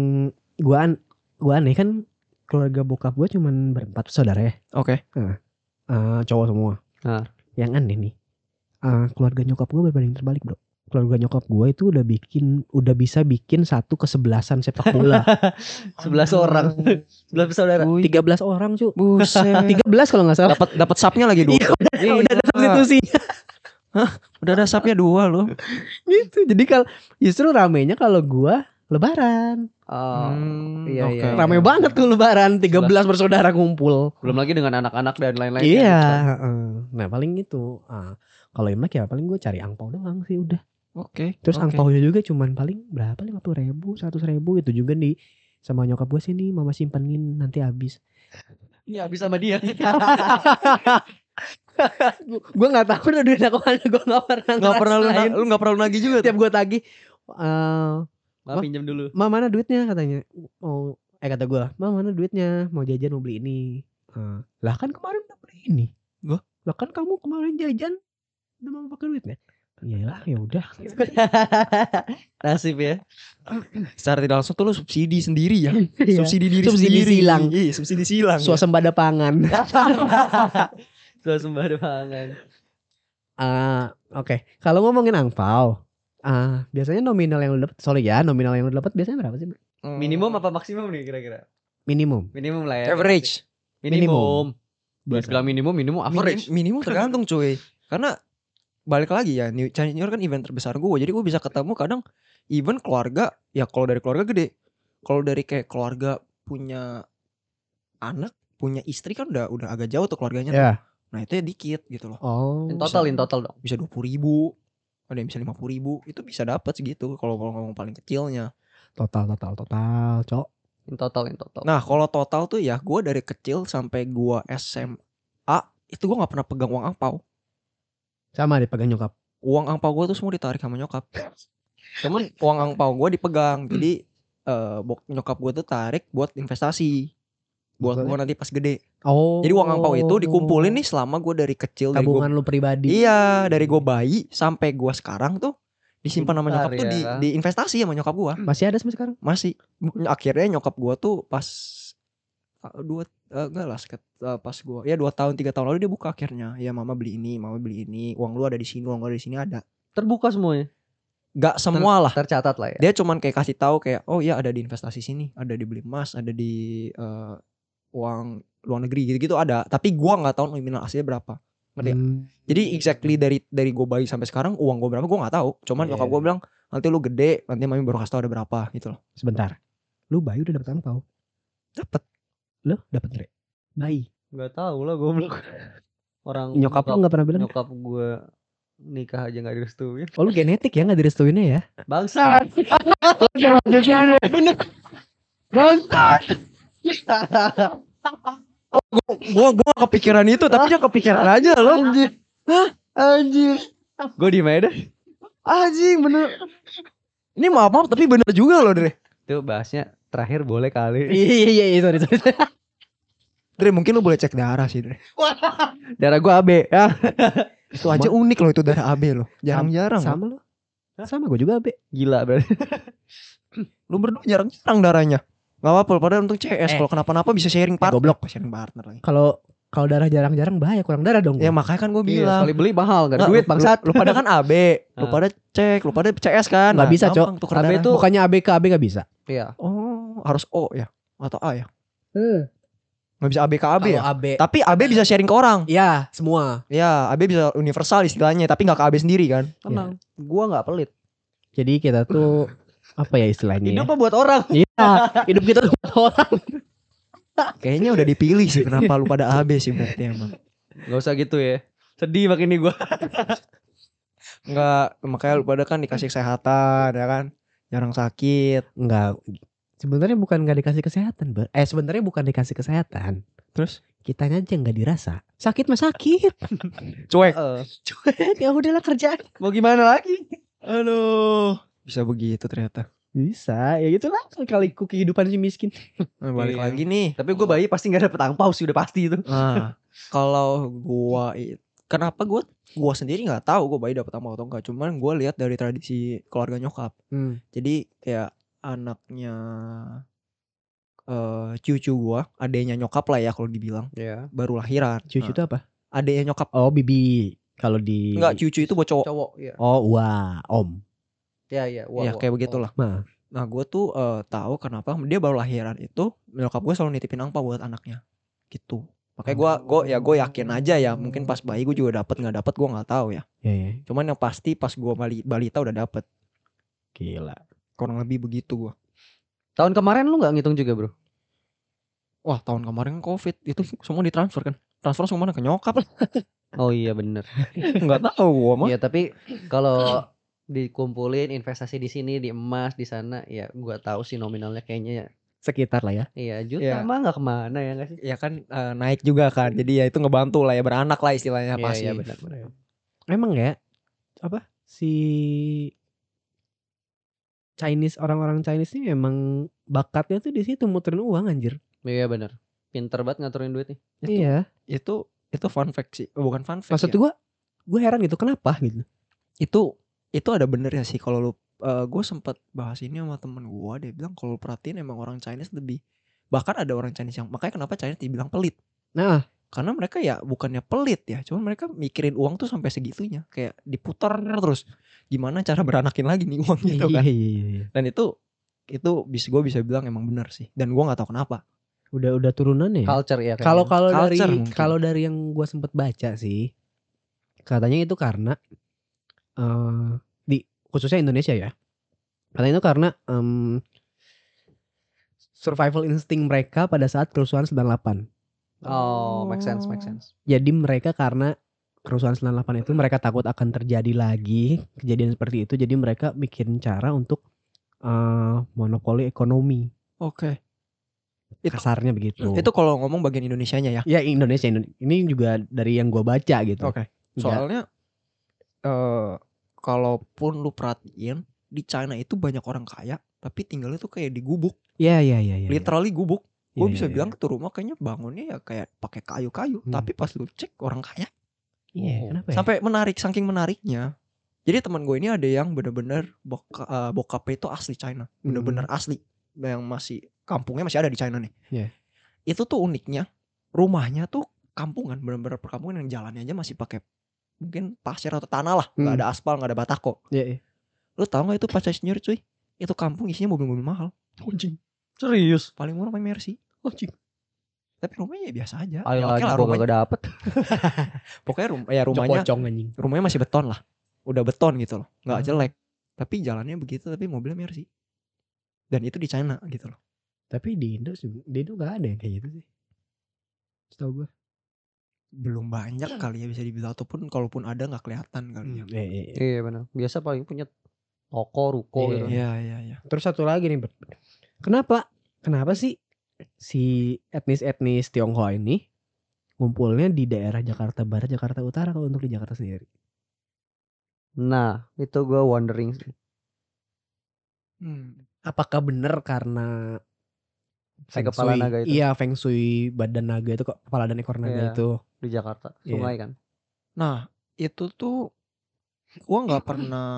[SPEAKER 1] gue an gue aneh kan keluarga bokap gue cuman berempat saudara ya
[SPEAKER 3] Oke. [LAUGHS]
[SPEAKER 1] Eh, cowok semua.
[SPEAKER 2] Ah.
[SPEAKER 1] Yang aneh nih, eh, keluarga nyokap gue berbanding terbalik bro. Keluarga nyokap gue itu udah bikin, udah bisa bikin satu kesebelasan sepak bola.
[SPEAKER 2] [LAUGHS] Sebelas
[SPEAKER 1] [LAUGHS]
[SPEAKER 2] orang. Sebelah bersaudara.
[SPEAKER 3] Cuy,
[SPEAKER 1] 13 orang cu.
[SPEAKER 3] Buset.
[SPEAKER 1] 13 kalau nggak salah.
[SPEAKER 3] Dapat dapat sapnya lagi dua. Iya,
[SPEAKER 1] udah ada substitusinya
[SPEAKER 3] udah ada sapnya dua loh.
[SPEAKER 1] gitu. Jadi kalau justru ramenya kalau gue lebaran.
[SPEAKER 2] Oh,
[SPEAKER 3] Hmm,
[SPEAKER 2] iya,
[SPEAKER 3] oke,
[SPEAKER 2] iya,
[SPEAKER 3] oke.
[SPEAKER 2] iya.
[SPEAKER 1] Rame banget tuh lebaran, 13 bersaudara kumpul.
[SPEAKER 2] Belum lagi dengan anak-anak dan lain-lain. kan.
[SPEAKER 1] Iya, heeh. nah paling itu. Ah, kalau imlek ya paling gue cari angpau doang sih udah.
[SPEAKER 3] Oke.
[SPEAKER 1] Terus
[SPEAKER 3] oke.
[SPEAKER 1] angpaunya juga cuman paling berapa lima puluh ribu, seratus ribu itu juga nih sama nyokap gue sih nih mama simpenin nanti [LAUGHS] habis.
[SPEAKER 2] Ini habis sama dia.
[SPEAKER 1] gue nggak tahu udah duit aku mana gue nggak pernah
[SPEAKER 3] Nggak pernah lu na-
[SPEAKER 1] ngerasain.
[SPEAKER 3] lu nggak pernah lu nagih juga. tuh?
[SPEAKER 1] Tiap gue tagih, eh
[SPEAKER 2] Maaf pinjam dulu. [LAUGHS]
[SPEAKER 1] ma mana duitnya katanya mau eh kata gue ma mana duitnya mau jajan mau beli ini. Eh, lah kan kemarin udah beli ini.
[SPEAKER 3] Wah.
[SPEAKER 1] Lah kan kamu kemarin jajan udah mau pakai duitnya. Iyalah ya
[SPEAKER 3] [LAUGHS]
[SPEAKER 1] udah.
[SPEAKER 3] Iya.
[SPEAKER 2] Nasib ya.
[SPEAKER 3] Secara tidak langsung tuh lu subsidi sendiri ya.
[SPEAKER 1] Iya.
[SPEAKER 3] Subsidi diri
[SPEAKER 1] Subsidi
[SPEAKER 3] sendiri.
[SPEAKER 1] silang.
[SPEAKER 3] Iya, subsidi silang. ya.
[SPEAKER 1] Suasembada pangan.
[SPEAKER 2] [LAUGHS] Suasembada pangan.
[SPEAKER 1] Ah, oke. Kalau ngomongin angpau, ah biasanya nominal yang lu dapat, sorry ya, nominal yang lu dapat biasanya berapa sih? Bro?
[SPEAKER 3] Hmm.
[SPEAKER 2] Minimum apa maksimum nih kira-kira?
[SPEAKER 1] Minimum.
[SPEAKER 2] Minimum lah ya.
[SPEAKER 3] average?
[SPEAKER 2] Minimum. Buat
[SPEAKER 1] Biasa.
[SPEAKER 2] bilang minimum, minimum average.
[SPEAKER 3] Minim- minimum tergantung cuy. Karena balik lagi ya New Chinese New Year kan event terbesar gue jadi gue bisa ketemu kadang event keluarga ya kalau dari keluarga gede kalau dari kayak keluarga punya anak punya istri kan udah udah agak jauh tuh keluarganya tuh.
[SPEAKER 1] Ya.
[SPEAKER 3] nah itu ya dikit gitu loh
[SPEAKER 1] Oh.
[SPEAKER 2] In total,
[SPEAKER 3] Bisa.
[SPEAKER 2] in total dong.
[SPEAKER 3] bisa dua puluh ribu ada yang bisa lima puluh ribu itu bisa dapat segitu kalau kalau ngomong paling kecilnya
[SPEAKER 1] Total, total, total, cok.
[SPEAKER 2] In total, in total.
[SPEAKER 3] nah kalau total tuh ya gue dari kecil sampai gue SMA itu gue nggak pernah pegang uang angpau
[SPEAKER 1] Sama deh pegang nyokap.
[SPEAKER 3] uang angpau gue tuh semua ditarik sama nyokap cuman uang angpau gue dipegang jadi eh, bok- nyokap gue tuh tarik buat investasi buat gue
[SPEAKER 1] Maksudnya?
[SPEAKER 3] nanti pas gede
[SPEAKER 1] Oh.
[SPEAKER 3] jadi uang angpau itu dikumpulin nih selama gue dari kecil dari gua,
[SPEAKER 1] Tabungan lu pribadi.
[SPEAKER 3] iya dari gue bayi sampai gue sekarang tuh disimpan sama
[SPEAKER 2] Pintar
[SPEAKER 3] nyokap tuh di,
[SPEAKER 2] ya.
[SPEAKER 3] di investasi sama nyokap gue
[SPEAKER 1] Masih ada sampai sekarang?
[SPEAKER 3] masih akhirnya nyokap gue tuh pas eh, dua eh, enggak lah seket- eh, pas gue ya dua tahun tiga tahun lalu dia buka akhirnya ya mama beli ini mama beli ini uang lu ada di sini uang lu ada di sini ada
[SPEAKER 2] Terbuka semuanya.
[SPEAKER 3] Gak semua lah.
[SPEAKER 2] Tercatat lah ya.
[SPEAKER 3] Dia cuman kayak kasih tahu kayak oh iya ada di investasi sini, ada di beli emas, ada di eh, uang luar negeri gitu-gitu ada. Tapi gua nggak tahu nominal aslinya berapa. Ngerti nggak?
[SPEAKER 1] Hmm.
[SPEAKER 3] Jadi exactly dari dari gua bayi sampai sekarang uang gua berapa gua nggak tahu. Cuman
[SPEAKER 1] Iya.
[SPEAKER 3] nyokap gua bilang nanti lu gede, nanti mami baru kasih tahu ada berapa gitu loh.
[SPEAKER 1] Sebentar. Lu bayi udah dapet angpau.
[SPEAKER 3] Dapat.
[SPEAKER 1] Lu dapet Dre. Bayi.
[SPEAKER 2] Gak tau lah goblok. Orang
[SPEAKER 1] Nyokap lu nggak pernah bilang.
[SPEAKER 2] nyokap gue nikah aja nggak direstuin
[SPEAKER 1] Oh lu genetik ya nggak direstuinnya ya?
[SPEAKER 2] bangsa
[SPEAKER 3] Gua gua nggak kepikiran itu, tapi dia kepikiran aja loh.
[SPEAKER 2] anjir gue di Medan
[SPEAKER 3] Anjing bener. Ini maaf maaf tapi bener juga loh Dre.
[SPEAKER 2] tuh bahasnya terakhir boleh kali
[SPEAKER 1] [LAUGHS] Iya iya iya sorry sorry.
[SPEAKER 3] Dre mungkin lu boleh cek darah sih Dre.
[SPEAKER 2] darah gue AB ya
[SPEAKER 3] Itu aja unik loh itu darah AB loh. Jarang-jarang. loh.
[SPEAKER 1] Sama lu. Sama gue juga Be.
[SPEAKER 2] gila berarti
[SPEAKER 3] Lu berdua jarang-jarang darahnya. Gak apa-apa, padahal untuk
[SPEAKER 1] Eh.
[SPEAKER 3] CS kalau kenapa-napa bisa sharing partner.
[SPEAKER 1] goblok.
[SPEAKER 3] sharing partner lagi.
[SPEAKER 1] Kalau kalau darah jarang-jarang bahaya kurang darah dong.
[SPEAKER 3] Ya makanya kan gue
[SPEAKER 2] Iya,
[SPEAKER 3] bilang.
[SPEAKER 2] sekali beli mahal gak ada
[SPEAKER 3] Nggak,
[SPEAKER 2] duit
[SPEAKER 3] lu-
[SPEAKER 2] bangsat
[SPEAKER 3] Lu, pada kan AB, lu
[SPEAKER 2] Ah.
[SPEAKER 3] pada cek, lu pada CS kan.
[SPEAKER 1] Nggak bisa, Cok.
[SPEAKER 3] gampang tuker
[SPEAKER 2] AB
[SPEAKER 3] darah.
[SPEAKER 2] tuh-
[SPEAKER 1] Bukannya ABK, AB nggak bisa.
[SPEAKER 2] iya
[SPEAKER 3] Oh, harus O ya atau A ya.
[SPEAKER 1] Hmm.
[SPEAKER 3] nggak bisa ABK AB ya
[SPEAKER 4] Kalau AB.
[SPEAKER 3] tapi AB bisa sharing ke orang
[SPEAKER 1] Iya,
[SPEAKER 4] Ya, semua.
[SPEAKER 3] ya AB bisa universal istilahnya tapi nggak ke AB sendiri kan
[SPEAKER 1] Iya.
[SPEAKER 2] Tenang, Iya. gua nggak pelit.
[SPEAKER 1] Jadi kita tuh apa ya
[SPEAKER 2] Hidup
[SPEAKER 1] istilahnya? ya?
[SPEAKER 2] mah buat orang.
[SPEAKER 1] Iya, hidup kita tuh buat orang.
[SPEAKER 3] kayaknya udah dipilih sih kenapa lu pada AB sih berarti emang
[SPEAKER 2] Gak usah gitu ya. Sedih makin nih gua.
[SPEAKER 3] nggak makanya lu pada kan dikasih kesehatan ya kan jarang sakit
[SPEAKER 1] Enggak. Sebenarnya bukan nggak dikasih kesehatan, Bar. Eh sebenarnya bukan dikasih kesehatan.
[SPEAKER 3] terus
[SPEAKER 1] Kitanya aja nggak dirasa. Sakit mah sakit.
[SPEAKER 3] cuek
[SPEAKER 2] Eh,
[SPEAKER 1] Cuek, [LAUGHS] ya udahlah kerjaan.
[SPEAKER 2] mau gimana lagi?
[SPEAKER 3] aduh bisa begitu ternyata
[SPEAKER 1] Bisa, ya gitulah kali ku kehidupan si miskin.
[SPEAKER 3] Nah, balik
[SPEAKER 2] Iya.
[SPEAKER 3] lagi nih
[SPEAKER 2] Tapi gua bayi pasti nggak dapet angpau sih udah pasti itu.
[SPEAKER 3] Nah, kalau gua i- kenapa gua gua sendiri nggak tahu gua bayi dapat apa atau enggak. Cuman gua lihat dari tradisi keluarga nyokap.
[SPEAKER 4] Hmm.
[SPEAKER 3] Jadi kayak anaknya eh cucu gua, adenya nyokap lah ya kalau dibilang,
[SPEAKER 2] Iya.
[SPEAKER 3] baru lahiran.
[SPEAKER 1] Cucu
[SPEAKER 2] Ah.
[SPEAKER 3] Nah,
[SPEAKER 1] itu apa?
[SPEAKER 3] adenya nyokap.
[SPEAKER 1] Oh, bibi. Kalau di
[SPEAKER 3] Enggak, cucu itu buat cowok.
[SPEAKER 2] Cowok, iya.
[SPEAKER 1] Oh, wah, om.
[SPEAKER 2] Iya, iya. Wah,
[SPEAKER 3] ya
[SPEAKER 2] wah,
[SPEAKER 3] kayak
[SPEAKER 2] wah.
[SPEAKER 3] begitulah.
[SPEAKER 1] Nah.
[SPEAKER 3] Nah, gua tuh eh, tahu kenapa dia baru lahiran itu nyokap gua selalu nitipin angpau buat anaknya. Gitu. Makanya gua gua ya gua yakin aja ya, mungkin pas bayi gua juga dapat nggak dapat gua nggak tahu ya.
[SPEAKER 1] Ya, ya.
[SPEAKER 3] Cuman yang pasti pas gua bali, balita udah dapet
[SPEAKER 1] Gila.
[SPEAKER 3] Kurang lebih begitu gua
[SPEAKER 2] Tahun kemarin lu nggak ngitung juga, Bro?
[SPEAKER 3] Wah tahun kemarin covid itu semua ditransfer kan Transfer semua mana ke nyokap [LAUGHS]
[SPEAKER 2] Oh iya bener.
[SPEAKER 3] Gak [LAUGHS] tau gua mah
[SPEAKER 2] Iya, tapi kalau dikumpulin investasi di sini di emas di sana ya gua tahu sih nominalnya kayaknya ya
[SPEAKER 1] Sekitar lah ya.
[SPEAKER 2] iya juta
[SPEAKER 3] Iya.
[SPEAKER 2] mah nggak kemana ya nggak sih
[SPEAKER 3] Ya kan eh, naik juga kan Jadi ya itu ngebantu lah ya beranak lah istilahnya
[SPEAKER 2] Iya,
[SPEAKER 3] pasti
[SPEAKER 2] iya, benar, benar.
[SPEAKER 1] Emang ya apa si Chinese orang-orang Chinese ini emang bakatnya tuh di situ muterin uang anjir.
[SPEAKER 2] iya bener pinter banget ngaturin duit nih
[SPEAKER 3] Itu-
[SPEAKER 1] Iya.
[SPEAKER 3] Itu itu fun fact sih Eh, Bukan fun fact
[SPEAKER 1] Maksud
[SPEAKER 2] Iya.
[SPEAKER 3] ya.
[SPEAKER 1] gua gue heran gitu kenapa gitu.
[SPEAKER 3] Itu itu ada benernya sih Kalau lu Gue sempet bahas ini sama temen gua Dia bilang kalau lu perhatiin emang orang Chinese lebih Bahkan ada orang Chinese yang Makanya kenapa Chinese dibilang pelit
[SPEAKER 1] Nah,
[SPEAKER 3] karena mereka ya bukannya pelit ya cuman mereka mikirin uang tuh sampai segitunya kayak diputar terus gimana cara beranakin lagi nih uang gitu kan
[SPEAKER 1] iya, iya, iya, iya.
[SPEAKER 3] dan itu itu bisa gue bisa bilang emang benar sih dan gue nggak tahu kenapa
[SPEAKER 1] Udah udah turunannya. ya?
[SPEAKER 2] culture ya
[SPEAKER 1] Kalau
[SPEAKER 2] kayaknya.
[SPEAKER 1] kalau dari
[SPEAKER 3] Culture mungkin.
[SPEAKER 1] kalau dari yang gua sempet baca sih katanya itu karena eh di khususnya Indonesia ya. Katanya itu karena em, survival instinct mereka pada saat kerusuhan 98.
[SPEAKER 2] oh make sense make sense
[SPEAKER 1] Jadi mereka karena kerusuhan 98 itu mereka takut akan terjadi lagi kejadian seperti itu. Jadi mereka mikirin cara untuk eh, monopoli ekonomi.
[SPEAKER 3] oke Itu-
[SPEAKER 1] kasarnya begitu.
[SPEAKER 3] itu kalau ngomong bagian Indonesianya ya
[SPEAKER 1] ya Indonesia Indo- ini juga dari yang gua baca gitu.
[SPEAKER 3] Oh,
[SPEAKER 1] Nggak-
[SPEAKER 3] soalnya eh kalaupun lu perhatiin di China itu banyak orang kaya tapi tinggalnya tuh kayak di gubuk
[SPEAKER 1] Ya ya ya ya.
[SPEAKER 3] literally gubuk
[SPEAKER 1] ya,
[SPEAKER 3] gue
[SPEAKER 1] ya,
[SPEAKER 3] bisa
[SPEAKER 1] ya,
[SPEAKER 3] bilang
[SPEAKER 1] ya.
[SPEAKER 3] tuh rumah kayaknya bangunnya ya kayak pakai kayu-kayu
[SPEAKER 1] Hmm.
[SPEAKER 3] tapi pas lu cek orang kaya
[SPEAKER 1] Iya, kenapa ya?
[SPEAKER 3] sampai menarik saking menariknya jadi teman gue ini ada yang bener-bener boka, eh, bokapnya itu asli China
[SPEAKER 1] Hmm.
[SPEAKER 3] bener-bener asli Nah, yang masih kampungnya masih ada di China nih
[SPEAKER 1] Iya.
[SPEAKER 3] itu tuh uniknya rumahnya tuh kampungan bener-bener perkampungan yang jalannya aja masih pakai mungkin pasir atau tanah lah nggak
[SPEAKER 1] Hmm.
[SPEAKER 3] ada aspal nggak ada batako
[SPEAKER 1] Iya, iya.
[SPEAKER 3] lu tau nggak itu pas senior cuy itu kampung isinya mobil-mobil mahal
[SPEAKER 2] serius
[SPEAKER 3] paling murah paling Mercy tapi rumahnya ya biasa aja
[SPEAKER 2] paling
[SPEAKER 3] ya, oke
[SPEAKER 2] lagi
[SPEAKER 3] lah
[SPEAKER 2] gua
[SPEAKER 3] rumahnya
[SPEAKER 2] gak dapet
[SPEAKER 3] pokoknya rum-
[SPEAKER 1] Iya,
[SPEAKER 3] ya rumahnya
[SPEAKER 1] Jokocong anjing.
[SPEAKER 3] rumahnya masih beton lah udah beton gitu loh nggak
[SPEAKER 1] Ah.
[SPEAKER 3] jelek tapi jalannya begitu tapi mobilnya Mercy dan itu di China gitu loh
[SPEAKER 1] Tapi di Indo sih- di Indo gak ada yang kayak gitu sih. Setahu gua.
[SPEAKER 3] belum banyak kali ya bisa dibilang ataupun kalaupun ada nggak kelihatan kali ya
[SPEAKER 1] Iya, iya, iya.
[SPEAKER 2] iya benar biasa paling punya toko
[SPEAKER 1] Iya,
[SPEAKER 2] ruko gitu
[SPEAKER 3] iya iya iya
[SPEAKER 1] Terus satu lagi nih, Bert. kenapa? Kenapa sih si etnis-etnis Tionghoa ini ngumpulnya di daerah Jakarta Barat, Jakarta Utara kalau untuk di Jakarta sendiri?
[SPEAKER 2] nah itu gua wondering sih.
[SPEAKER 3] Hmm.
[SPEAKER 1] Apakah benar karena
[SPEAKER 2] Si
[SPEAKER 1] feng
[SPEAKER 2] kepala
[SPEAKER 1] shui-
[SPEAKER 2] naga itu.
[SPEAKER 1] Iya, feng shui badan naga itu kok kepala dan ekor naga
[SPEAKER 2] Iya.
[SPEAKER 1] itu.
[SPEAKER 2] di Jakarta
[SPEAKER 1] Iya.
[SPEAKER 2] sungai kan
[SPEAKER 3] nah itu tuh gua [CLEARS THROAT] nggak pernah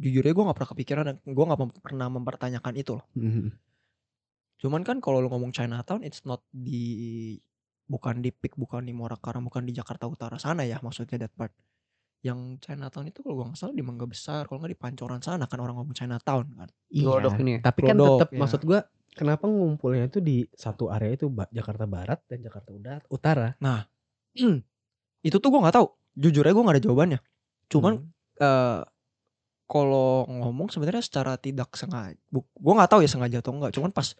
[SPEAKER 3] jujurnya gua nggak pernah kepikiran dan gua nggak mem- pernah mempertanyakan itu loh
[SPEAKER 1] Mhm.
[SPEAKER 3] cuman kan kalau lu ngomong Chinatown it's not di bukan di Peak bukan di Morakarang bukan di Jakarta Utara sana ya maksudnya that part yang Chinatown itu kalau gua nggak salah di Mangga Besar kalau nggak di Pancoran sana kan [CLEARS THROAT] orang ngomong Chinatown kan
[SPEAKER 1] Iya.
[SPEAKER 2] Glodok ini ya?
[SPEAKER 1] Tapi kan
[SPEAKER 3] Glodok,
[SPEAKER 1] tetap
[SPEAKER 3] iya.
[SPEAKER 1] maksud gua kenapa ngumpulnya itu di satu area itu Ba- Jakarta Barat dan Jakarta Uda- Utara?
[SPEAKER 3] itu tuh gue nggak tahu jujur aja gue nggak ada jawabannya cuman
[SPEAKER 1] Hmm.
[SPEAKER 3] eh kalau ngomong sebenarnya secara tidak sengaja gue nggak tahu ya sengaja atau enggak cuman pas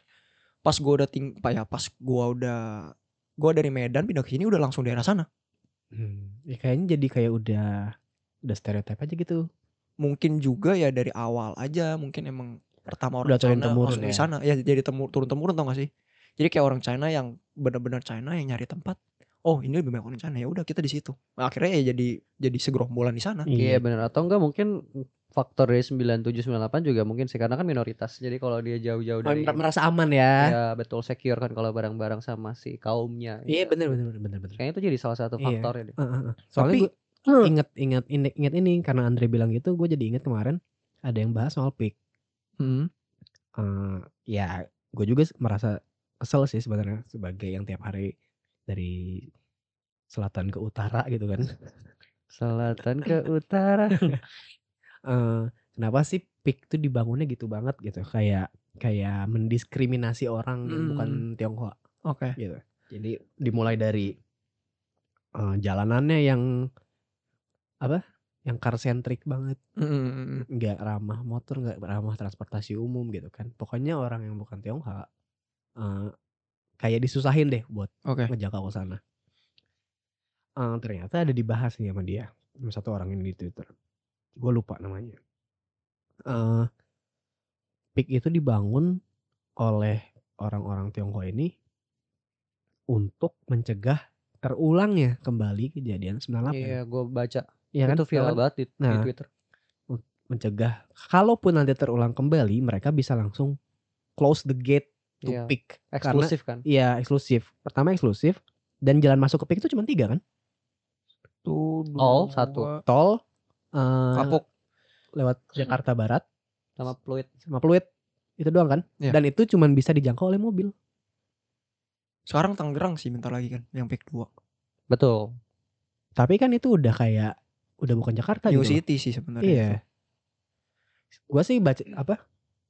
[SPEAKER 3] pas gue udah ting pak ya pas gue udah gue dari Medan pindah ke sini udah langsung daerah sana
[SPEAKER 1] Hmm. Ya, kayaknya jadi kayak udah udah stereotip aja gitu.
[SPEAKER 3] mungkin juga ya dari awal aja mungkin emang pertama
[SPEAKER 1] Udah
[SPEAKER 3] orang
[SPEAKER 1] turun
[SPEAKER 3] China
[SPEAKER 1] temurun
[SPEAKER 3] langsung di
[SPEAKER 1] ya.
[SPEAKER 3] sana ya jadi temur turun temurun tau gak sih jadi kayak orang China yang benar-benar China yang nyari tempat oh ini lebih banyak orang China ya udah kita di situ Nah, akhirnya ya jadi jadi segerombolan di sana
[SPEAKER 2] Iya benar atau enggak mungkin faktor dari 97 98 juga mungkin sih karena kan minoritas. Jadi kalau dia jauh-jauh dari
[SPEAKER 1] Mer- merasa aman ya.
[SPEAKER 2] ya betul secure kan kalau bareng-bareng sama si kaumnya.
[SPEAKER 1] Iya bener bener bener bener bener.
[SPEAKER 2] Kayaknya itu jadi salah satu
[SPEAKER 1] Iya.
[SPEAKER 2] faktor ya.
[SPEAKER 1] Heeh, heeh. Soalnya
[SPEAKER 3] Tapi-
[SPEAKER 1] gue inget inget ini- inget ini karena Andre bilang gitu, gue jadi inget kemarin ada yang bahas soal pick.
[SPEAKER 3] Hmm.
[SPEAKER 1] Eh, ya gue juga s- merasa kesel sih sebenarnya sebagai yang tiap hari dari selatan ke utara gitu kan.
[SPEAKER 2] Selatan ke utara.
[SPEAKER 1] Eh, kenapa sih pik tuh dibangunnya gitu banget gitu kayak kayak mendiskriminasi orang yang bukan Tionghoa
[SPEAKER 3] oke
[SPEAKER 1] gitu. Jadi dimulai dari eh, jalanannya yang apa? Yang car centric banget,
[SPEAKER 3] Hmm, Mm-mm.
[SPEAKER 1] nggak ramah motor, nggak ramah transportasi umum gitu kan. Pokoknya orang yang bukan Tionghoa eh, kayak disusahin deh buat
[SPEAKER 3] oke
[SPEAKER 1] ngejangkau ke sana. Eh, ternyata ada dibahas nih sama dia, sama satu orang ini di Twitter. Gue lupa namanya. Eh Pik itu dibangun oleh orang-orang Tionghoa ini untuk mencegah terulangnya kembali kejadian 98.
[SPEAKER 2] Iya, gue baca.
[SPEAKER 1] Iya kan?
[SPEAKER 2] itu viral
[SPEAKER 1] Bahkan
[SPEAKER 2] banget di, di
[SPEAKER 1] Nah.
[SPEAKER 2] Twitter.
[SPEAKER 1] mencegah kalaupun nanti terulang kembali, mereka bisa langsung close the gate to
[SPEAKER 2] Iya,
[SPEAKER 1] Pik. Karena
[SPEAKER 2] eksklusif kan.
[SPEAKER 1] iya eksklusif. Pertama eksklusif dan jalan masuk ke Pik itu cuma tiga kan?
[SPEAKER 3] satu
[SPEAKER 2] All,
[SPEAKER 3] dua,
[SPEAKER 2] satu.
[SPEAKER 1] tol eh,
[SPEAKER 3] kapok
[SPEAKER 1] lewat
[SPEAKER 3] Hmm.
[SPEAKER 1] Jakarta Barat
[SPEAKER 2] sama Pluit.
[SPEAKER 1] sama Pluit itu doang kan
[SPEAKER 3] Iya.
[SPEAKER 1] dan itu cuman bisa dijangkau oleh mobil
[SPEAKER 3] sekarang Tangerang sih bentar lagi kan yang pick 2
[SPEAKER 2] Betul.
[SPEAKER 1] tapi kan itu udah kayak udah bukan Jakarta gitu
[SPEAKER 3] New
[SPEAKER 1] loh.
[SPEAKER 3] City sih sebenarnya
[SPEAKER 1] iya
[SPEAKER 3] itu.
[SPEAKER 1] gua sih baca apa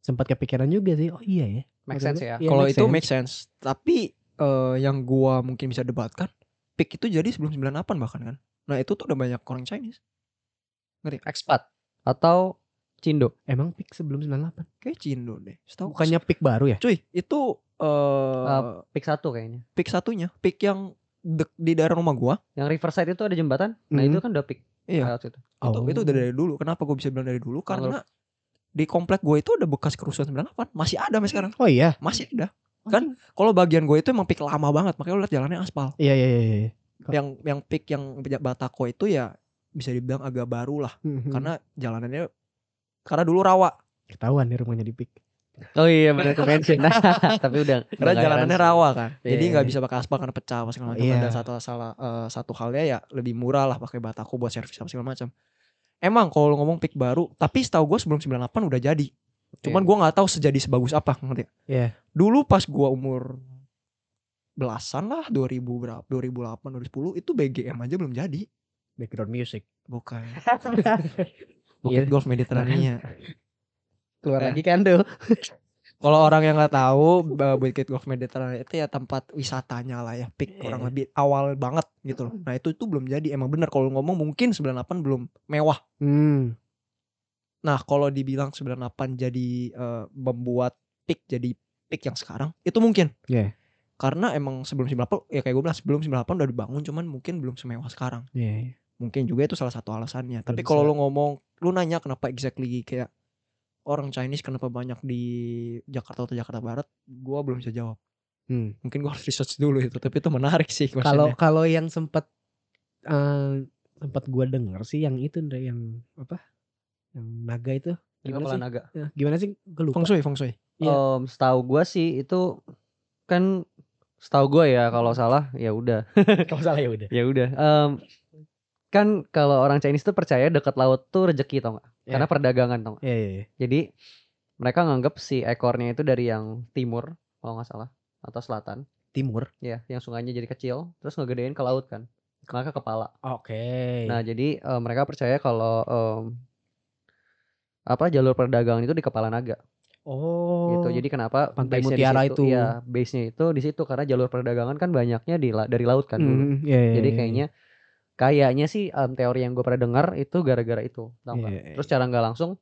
[SPEAKER 1] sempat kepikiran juga sih oh iya ya
[SPEAKER 2] Make sense ya.
[SPEAKER 1] Iya,
[SPEAKER 3] Kalau
[SPEAKER 1] make
[SPEAKER 3] itu
[SPEAKER 1] sense.
[SPEAKER 3] make sense. Tapi eh, yang gua mungkin bisa debatkan, pick itu jadi sebelum 98 bahkan kan. Nah, itu tuh udah banyak orang Chinese.
[SPEAKER 2] Expat atau Cindo.
[SPEAKER 1] emang pik sebelum 98
[SPEAKER 3] Kayak Cindo deh. Setahu
[SPEAKER 1] bukannya pik baru ya
[SPEAKER 3] cuy, itu eh
[SPEAKER 2] Ah. Pick satu kayaknya.
[SPEAKER 3] pick satunya, pick yang dek- di daerah rumah gua.
[SPEAKER 2] Yang Riverside itu ada jembatan. Nah,
[SPEAKER 1] Mhm.
[SPEAKER 2] itu kan udah pick.
[SPEAKER 3] Iya.
[SPEAKER 2] lewat situ.
[SPEAKER 3] Itu
[SPEAKER 1] Oh.
[SPEAKER 3] itu udah dari dulu. Kenapa gua bisa bilang dari dulu? Karena di komplek gue itu ada bekas kerusuhan 98 masih ada sampai sekarang
[SPEAKER 1] oh iya
[SPEAKER 3] masih ada kan kalau bagian gue itu emang pik lama banget makanya lu lihat jalannya aspal
[SPEAKER 1] iya iya iya, iya.
[SPEAKER 3] yang yang pik yang batako itu ya bisa dibilang agak baru lah
[SPEAKER 1] Hmm,
[SPEAKER 3] karena jalanannya karena dulu rawa
[SPEAKER 1] ketahuan nih rumahnya di pik
[SPEAKER 2] Oh iya benar ke [LAUGHS] mention. Tapi udah
[SPEAKER 3] karena
[SPEAKER 2] nggak
[SPEAKER 3] jalanannya
[SPEAKER 2] heran
[SPEAKER 3] rawa kan
[SPEAKER 1] Iya,
[SPEAKER 3] jadi
[SPEAKER 1] iya,
[SPEAKER 3] nggak
[SPEAKER 1] iya.
[SPEAKER 3] bisa pakai aspal karena pecah apa segala macam
[SPEAKER 1] Iya.
[SPEAKER 3] ada satu salah eh, satu halnya ya lebih murah lah pakai bataku buat servis apa segala macam emang kalau lu ngomong pik baru tapi setahu gue sebelum 98 udah jadi
[SPEAKER 2] sih.
[SPEAKER 3] cuman gua nggak tahu sejadi sebagus apa ngerti
[SPEAKER 1] Iya.
[SPEAKER 3] dulu pas gua umur belasan lah 2000 berapa 2008 2010 itu BGM aja belum jadi
[SPEAKER 1] background music
[SPEAKER 3] bukan
[SPEAKER 1] Iya.
[SPEAKER 3] Bukit Golf Mediterania
[SPEAKER 1] keluar
[SPEAKER 2] [LAUGHS]
[SPEAKER 3] Eh.
[SPEAKER 1] lagi kan tuh
[SPEAKER 3] Kalau orang yang nggak tahu bah- Bukit Golf Mediterranean itu ya tempat wisatanya lah ya, peak
[SPEAKER 1] Iya.
[SPEAKER 3] kurang lebih awal banget gitu loh. Nah, itu tuh belum jadi. Emang benar kalau ngomong mungkin 98 belum mewah.
[SPEAKER 1] hmm.
[SPEAKER 3] Nah, kalau dibilang 98 jadi eh, membuat peak jadi peak yang sekarang, itu mungkin.
[SPEAKER 1] Iya.
[SPEAKER 3] Karena emang sebelum 98 ya kayak gue bilang sebelum 98 udah dibangun cuman mungkin belum semewah sekarang.
[SPEAKER 1] iya, iya.
[SPEAKER 3] Mungkin juga itu salah satu alasannya. Tapi
[SPEAKER 1] Belum
[SPEAKER 3] kalau
[SPEAKER 1] se-
[SPEAKER 3] lu ngomong lu nanya kenapa exactly kayak orang Chinese kenapa banyak di Jakarta atau Jakarta Barat, gua belum bisa jawab.
[SPEAKER 1] Hmm.
[SPEAKER 3] mungkin gue harus research dulu itu tapi itu menarik sih
[SPEAKER 1] kalau kalau yang sempat eh sempat gua denger sih yang itu Ndre, yang apa yang naga itu gimana
[SPEAKER 2] Itu kepala
[SPEAKER 1] sih
[SPEAKER 2] naga.
[SPEAKER 1] Eh, gimana sih gue lupa
[SPEAKER 3] feng shui feng shui
[SPEAKER 1] Iya.
[SPEAKER 2] Em, setahu gua sih itu kan setahu gua ya kalau salah ya udah.
[SPEAKER 1] kalau salah ya udah
[SPEAKER 2] Ya udah. Em, kan kalau orang Chinese tuh percaya dekat laut tuh rezeki tau gak?
[SPEAKER 1] Iya.
[SPEAKER 2] Karena perdagangan tau gak?
[SPEAKER 1] iya iya iya.
[SPEAKER 2] Jadi mereka nganggap si ekornya itu dari yang timur kalau nggak salah atau selatan.
[SPEAKER 1] timur
[SPEAKER 2] Ya, yang sungainya jadi kecil, terus ngegedein ke laut kan. Maka kepala.
[SPEAKER 1] oke Iya.
[SPEAKER 2] Nah, jadi eh, mereka percaya kalau em, apa jalur perdagangan itu di kepala naga.
[SPEAKER 1] Oh. Hmm,
[SPEAKER 2] gitu. Jadi kenapa
[SPEAKER 1] Pantai
[SPEAKER 2] base-nya di
[SPEAKER 1] Mutiara
[SPEAKER 2] situ?
[SPEAKER 1] itu.
[SPEAKER 2] Iya, base-nya itu di situ karena jalur perdagangan kan banyaknya di la- dari laut kan.
[SPEAKER 1] Mm,
[SPEAKER 2] dulu.
[SPEAKER 1] iya, iya,
[SPEAKER 2] Jadi
[SPEAKER 1] iya.
[SPEAKER 2] kayaknya kayaknya sih em, teori yang gue pernah dengar itu gara-gara itu, tau nggak?
[SPEAKER 1] Iya, iya,
[SPEAKER 2] Terus cara nggak langsung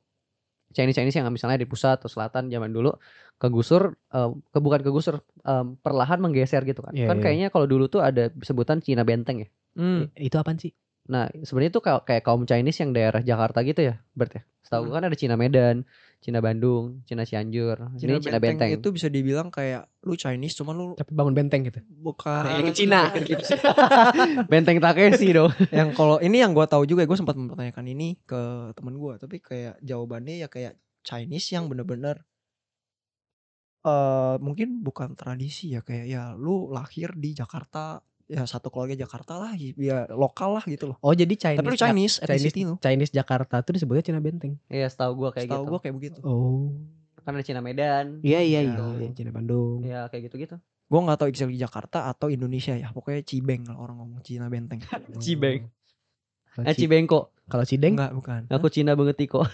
[SPEAKER 2] Chinese Chinese yang misalnya di pusat atau selatan zaman dulu kegusur em, ke bukan kegusur em, perlahan menggeser gitu kan.
[SPEAKER 1] Iya,
[SPEAKER 2] kan
[SPEAKER 1] iya.
[SPEAKER 2] kayaknya kalau dulu tuh ada sebutan Cina Benteng ya.
[SPEAKER 3] Hmm.
[SPEAKER 1] itu apaan sih?
[SPEAKER 2] Nah, sebenarnya itu ka- kayak kaum Chinese yang daerah Jakarta gitu ya, berarti. Ya?
[SPEAKER 1] Hmm.
[SPEAKER 2] Setahu gue kan ada Cina Medan, Cina Bandung, Cina Cianjur,
[SPEAKER 3] Cina,
[SPEAKER 2] ini Cina Benteng.
[SPEAKER 3] itu bisa dibilang kayak lu Chinese cuman lu
[SPEAKER 1] Tapi bangun benteng gitu.
[SPEAKER 3] bukan
[SPEAKER 1] Kayak ke Cina.
[SPEAKER 2] [LAUGHS] Benteng Takeshi dong.
[SPEAKER 3] [LAUGHS] yang kalau ini yang gua tahu juga gue sempat mempertanyakan ini ke temen gua tapi kayak jawabannya ya kayak Chinese yang bener-bener eh mungkin bukan tradisi ya kayak ya lu lahir di Jakarta ya satu keluarga Jakarta lah ya lokal lah gitu loh
[SPEAKER 1] Oh, jadi Chinese.
[SPEAKER 3] tapi lu Chinese
[SPEAKER 1] Chinese,
[SPEAKER 3] ethnicity lu
[SPEAKER 1] Chinese Jakarta tuh disebutnya Cina Benteng.
[SPEAKER 2] Iya, setahu gua kayak
[SPEAKER 3] setahu
[SPEAKER 2] gitu.
[SPEAKER 3] gue kayak begitu
[SPEAKER 1] Oh.
[SPEAKER 2] Kan ada Cina Medan.
[SPEAKER 1] Iya iya iya,
[SPEAKER 2] Gitu.
[SPEAKER 1] iya, Cina Bandung.
[SPEAKER 2] Iya, kayak gitu-gitu.
[SPEAKER 3] gue nggak tahu exactly Jakarta atau Indonesia ya pokoknya Cibeng lah orang ngomong Cina Benteng
[SPEAKER 1] Oh.
[SPEAKER 2] Cibeng.
[SPEAKER 1] Kalau
[SPEAKER 2] Eh,
[SPEAKER 1] Ci-
[SPEAKER 2] Cibengko.
[SPEAKER 1] Kalau Cideng
[SPEAKER 3] enggak bukan
[SPEAKER 2] Aku Cina banget kok. [LAUGHS]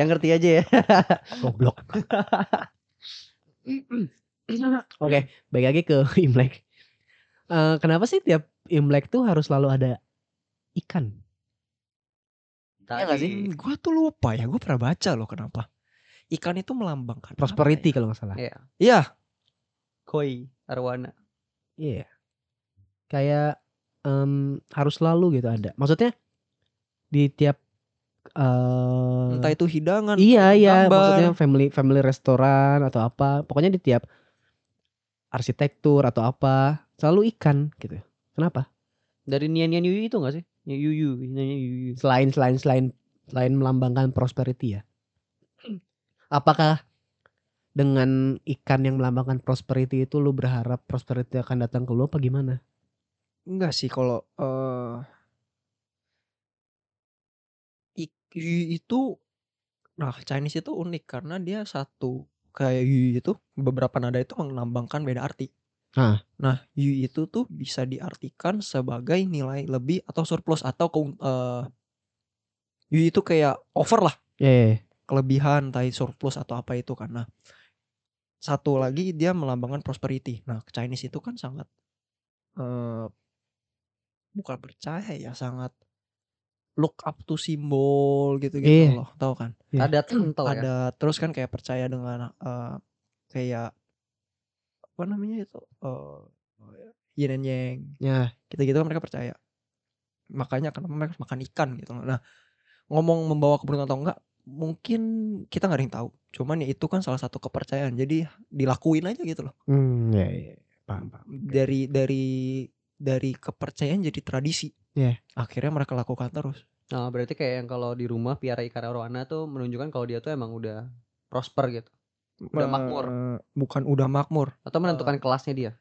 [SPEAKER 2] yang ngerti aja ya.
[SPEAKER 1] goblok.
[SPEAKER 3] [LAUGHS]
[SPEAKER 1] Oke, balik lagi ke [LAUGHS] Imlek. Eh, kenapa sih tiap Imlek tuh harus selalu ada ikan?
[SPEAKER 2] Iya nggak sih?
[SPEAKER 3] gue tuh lupa ya gue pernah baca loh kenapa ikan itu melambangkan apa
[SPEAKER 1] Prosperity
[SPEAKER 3] ya?
[SPEAKER 1] kalau nggak salah.
[SPEAKER 2] Iya.
[SPEAKER 3] iya
[SPEAKER 2] Koi, arwana.
[SPEAKER 1] Iya. Kayak em, harus selalu gitu ada. Maksudnya di tiap eh
[SPEAKER 3] ya? entah itu hidangan
[SPEAKER 1] Iya iya
[SPEAKER 3] gambar.
[SPEAKER 1] maksudnya family family restoran atau apa pokoknya di tiap arsitektur atau apa selalu ikan gitu kenapa
[SPEAKER 2] Dari Nian Nian Yuyu itu nggak sih? Yuyu, Yuyu, Nian Nian Yuyu.
[SPEAKER 1] selain selain selain selain melambangkan prosperity ya apakah dengan ikan yang melambangkan prosperity itu lu berharap prosperity akan datang ke lu apa gimana
[SPEAKER 3] enggak sih kalau eh ik- yu itu nah Chinese itu unik karena dia satu kayak yu itu beberapa nada itu menambangkan beda arti
[SPEAKER 1] Hah.
[SPEAKER 3] nah yu itu tuh bisa diartikan sebagai nilai lebih atau surplus atau keun- eh yu itu kayak over lah
[SPEAKER 1] ya ya, ya.
[SPEAKER 3] kelebihan tai surplus atau apa itu karena satu lagi dia melambangkan prosperity. Nah, Chinese itu kan sangat eh bukan percaya ya, sangat look up to simbol gitu-gitu
[SPEAKER 1] Iya.
[SPEAKER 3] loh, tahu kan?
[SPEAKER 1] Iya.
[SPEAKER 2] Ada kental ya.
[SPEAKER 3] Ada terus kan kayak percaya dengan eh, kayak apa namanya itu eh yin and yang
[SPEAKER 1] Ya.
[SPEAKER 3] gitu-gitu kan mereka percaya makanya kenapa mereka harus makan ikan gitu loh nah ngomong membawa keberuntungan atau enggak mungkin kita nggak ada yang tahu cuman ya itu kan salah satu kepercayaan jadi dilakuin aja gitu loh
[SPEAKER 1] Hmm, ya, ya. paham paham
[SPEAKER 3] dari dari dari kepercayaan jadi tradisi
[SPEAKER 1] Iya.
[SPEAKER 3] akhirnya mereka lakukan terus
[SPEAKER 2] Nah, berarti kayak yang kalau di rumah piara ikan arwana tuh menunjukkan kalau dia tuh emang udah prosper gitu Udah
[SPEAKER 3] Eh,
[SPEAKER 2] makmur.
[SPEAKER 3] bukan udah makmur
[SPEAKER 2] atau
[SPEAKER 3] Oh.
[SPEAKER 2] menentukan kelasnya dia.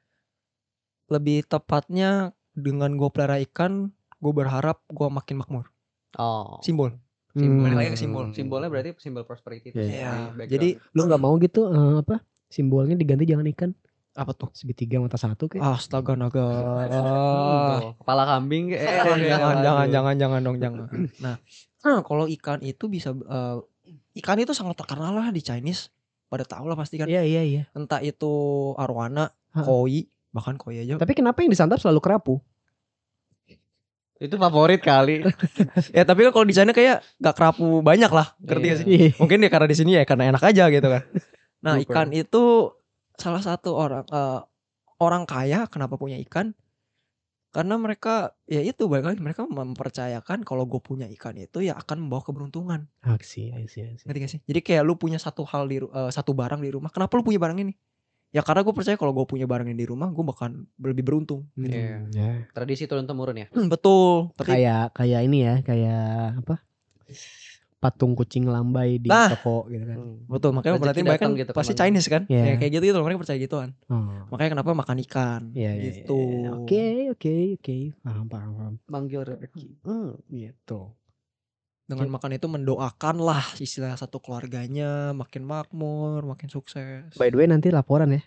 [SPEAKER 3] lebih tepatnya dengan gue pelihara ikan gue berharap gue makin makmur
[SPEAKER 2] Oh.
[SPEAKER 3] simbol
[SPEAKER 1] Hmm.
[SPEAKER 2] Simbol.
[SPEAKER 3] Balik lagi ke simbol.
[SPEAKER 2] Simbolnya berarti simbol prosperity itu
[SPEAKER 1] Iya.
[SPEAKER 2] sendiri, background.
[SPEAKER 3] jadi
[SPEAKER 1] lu nggak mau gitu eh, apa simbolnya diganti jangan ikan
[SPEAKER 3] apa tuh Oh,
[SPEAKER 1] segitiga mata satu kayak
[SPEAKER 3] astaga naga
[SPEAKER 2] Hmm, Tuh, Oh, kepala kambing [LAUGHS] kayak eh,
[SPEAKER 3] jangan, jangan,
[SPEAKER 2] aduh.
[SPEAKER 3] jangan, jangan, jangan dong, jangan. Nah, nah, kalau ikan itu bisa, eh, ikan itu sangat terkenal lah di Chinese. Pada tahu lah pasti kan.
[SPEAKER 1] iya iya iya
[SPEAKER 3] Entah itu arwana,
[SPEAKER 1] Ha.
[SPEAKER 3] koi, bahkan koi aja.
[SPEAKER 1] tapi kenapa yang disantap selalu kerapu
[SPEAKER 2] Itu favorit kali.
[SPEAKER 3] ya tapi kan kalau di sana kayak gak kerapu banyak lah, ngerti gak
[SPEAKER 2] Iya.
[SPEAKER 3] sih? Mungkin ya karena di sini ya karena enak aja gitu
[SPEAKER 2] [LAUGHS]
[SPEAKER 3] kan. Nah,
[SPEAKER 2] Super.
[SPEAKER 3] ikan itu salah satu orang eh, orang kaya kenapa punya ikan? Karena mereka ya itu balik lagi mereka mempercayakan kalau gue punya ikan itu ya akan membawa keberuntungan.
[SPEAKER 1] aksi aksi aksi
[SPEAKER 3] Ngerti gak sih? Jadi kayak lu punya satu hal di ru- eh, satu barang di rumah. Kenapa lu punya barang ini? Ya karena gue percaya kalau gue punya barang ini di rumah, gue bakal lebih beruntung. Gitu.
[SPEAKER 2] Iya.
[SPEAKER 3] Hmm,
[SPEAKER 1] Ya.
[SPEAKER 2] Tradisi turun temurun ya.
[SPEAKER 3] Betul. Tapi
[SPEAKER 1] Hmm. kayak kayak ini ya kayak apa patung kucing lambai di
[SPEAKER 3] Nah.
[SPEAKER 1] toko gitu kan
[SPEAKER 2] Hmm.
[SPEAKER 3] betul. Makanya
[SPEAKER 2] Rezeki
[SPEAKER 3] berarti mereka kan
[SPEAKER 2] datang gitu
[SPEAKER 3] pasti
[SPEAKER 2] kemana-mana.
[SPEAKER 3] Chinese kan?
[SPEAKER 1] Iya.
[SPEAKER 3] Ya, kayak gitu gitu mereka percaya gituan.
[SPEAKER 1] oh.
[SPEAKER 3] Makanya kenapa makan ikan?
[SPEAKER 1] Iya, iya,
[SPEAKER 3] Hmm. gitu.
[SPEAKER 1] iya. oke oke oke paham paham paham
[SPEAKER 2] Manggil rezeki.
[SPEAKER 1] hmm, gitu
[SPEAKER 3] Dengan makan itu mendoakan lah istilah satu keluarganya makin makmur, makin sukses.
[SPEAKER 1] by the way nanti laporan ya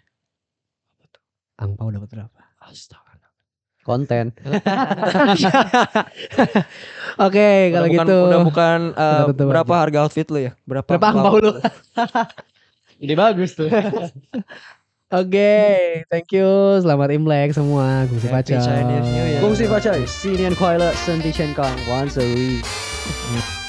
[SPEAKER 3] Apa tuh?
[SPEAKER 1] angpau dapat berapa
[SPEAKER 3] Astaga.
[SPEAKER 2] konten.
[SPEAKER 1] Oke, kalau
[SPEAKER 3] Udah bukan-
[SPEAKER 1] gitu.
[SPEAKER 3] udah bukan eh,
[SPEAKER 1] Udah tutup
[SPEAKER 3] berapa
[SPEAKER 1] aja.
[SPEAKER 3] harga outfit lu ya? Berapa?
[SPEAKER 1] Berapa angpau lu?
[SPEAKER 2] Ide bagus tuh. [LAUGHS]
[SPEAKER 1] Oke, thank you. Selamat Imlek semua. Gungsi
[SPEAKER 3] Happy
[SPEAKER 1] pacar.
[SPEAKER 3] Chinese New Year.
[SPEAKER 2] Gongsi pacar, sinian kuai le, senti chen kang, wan serui.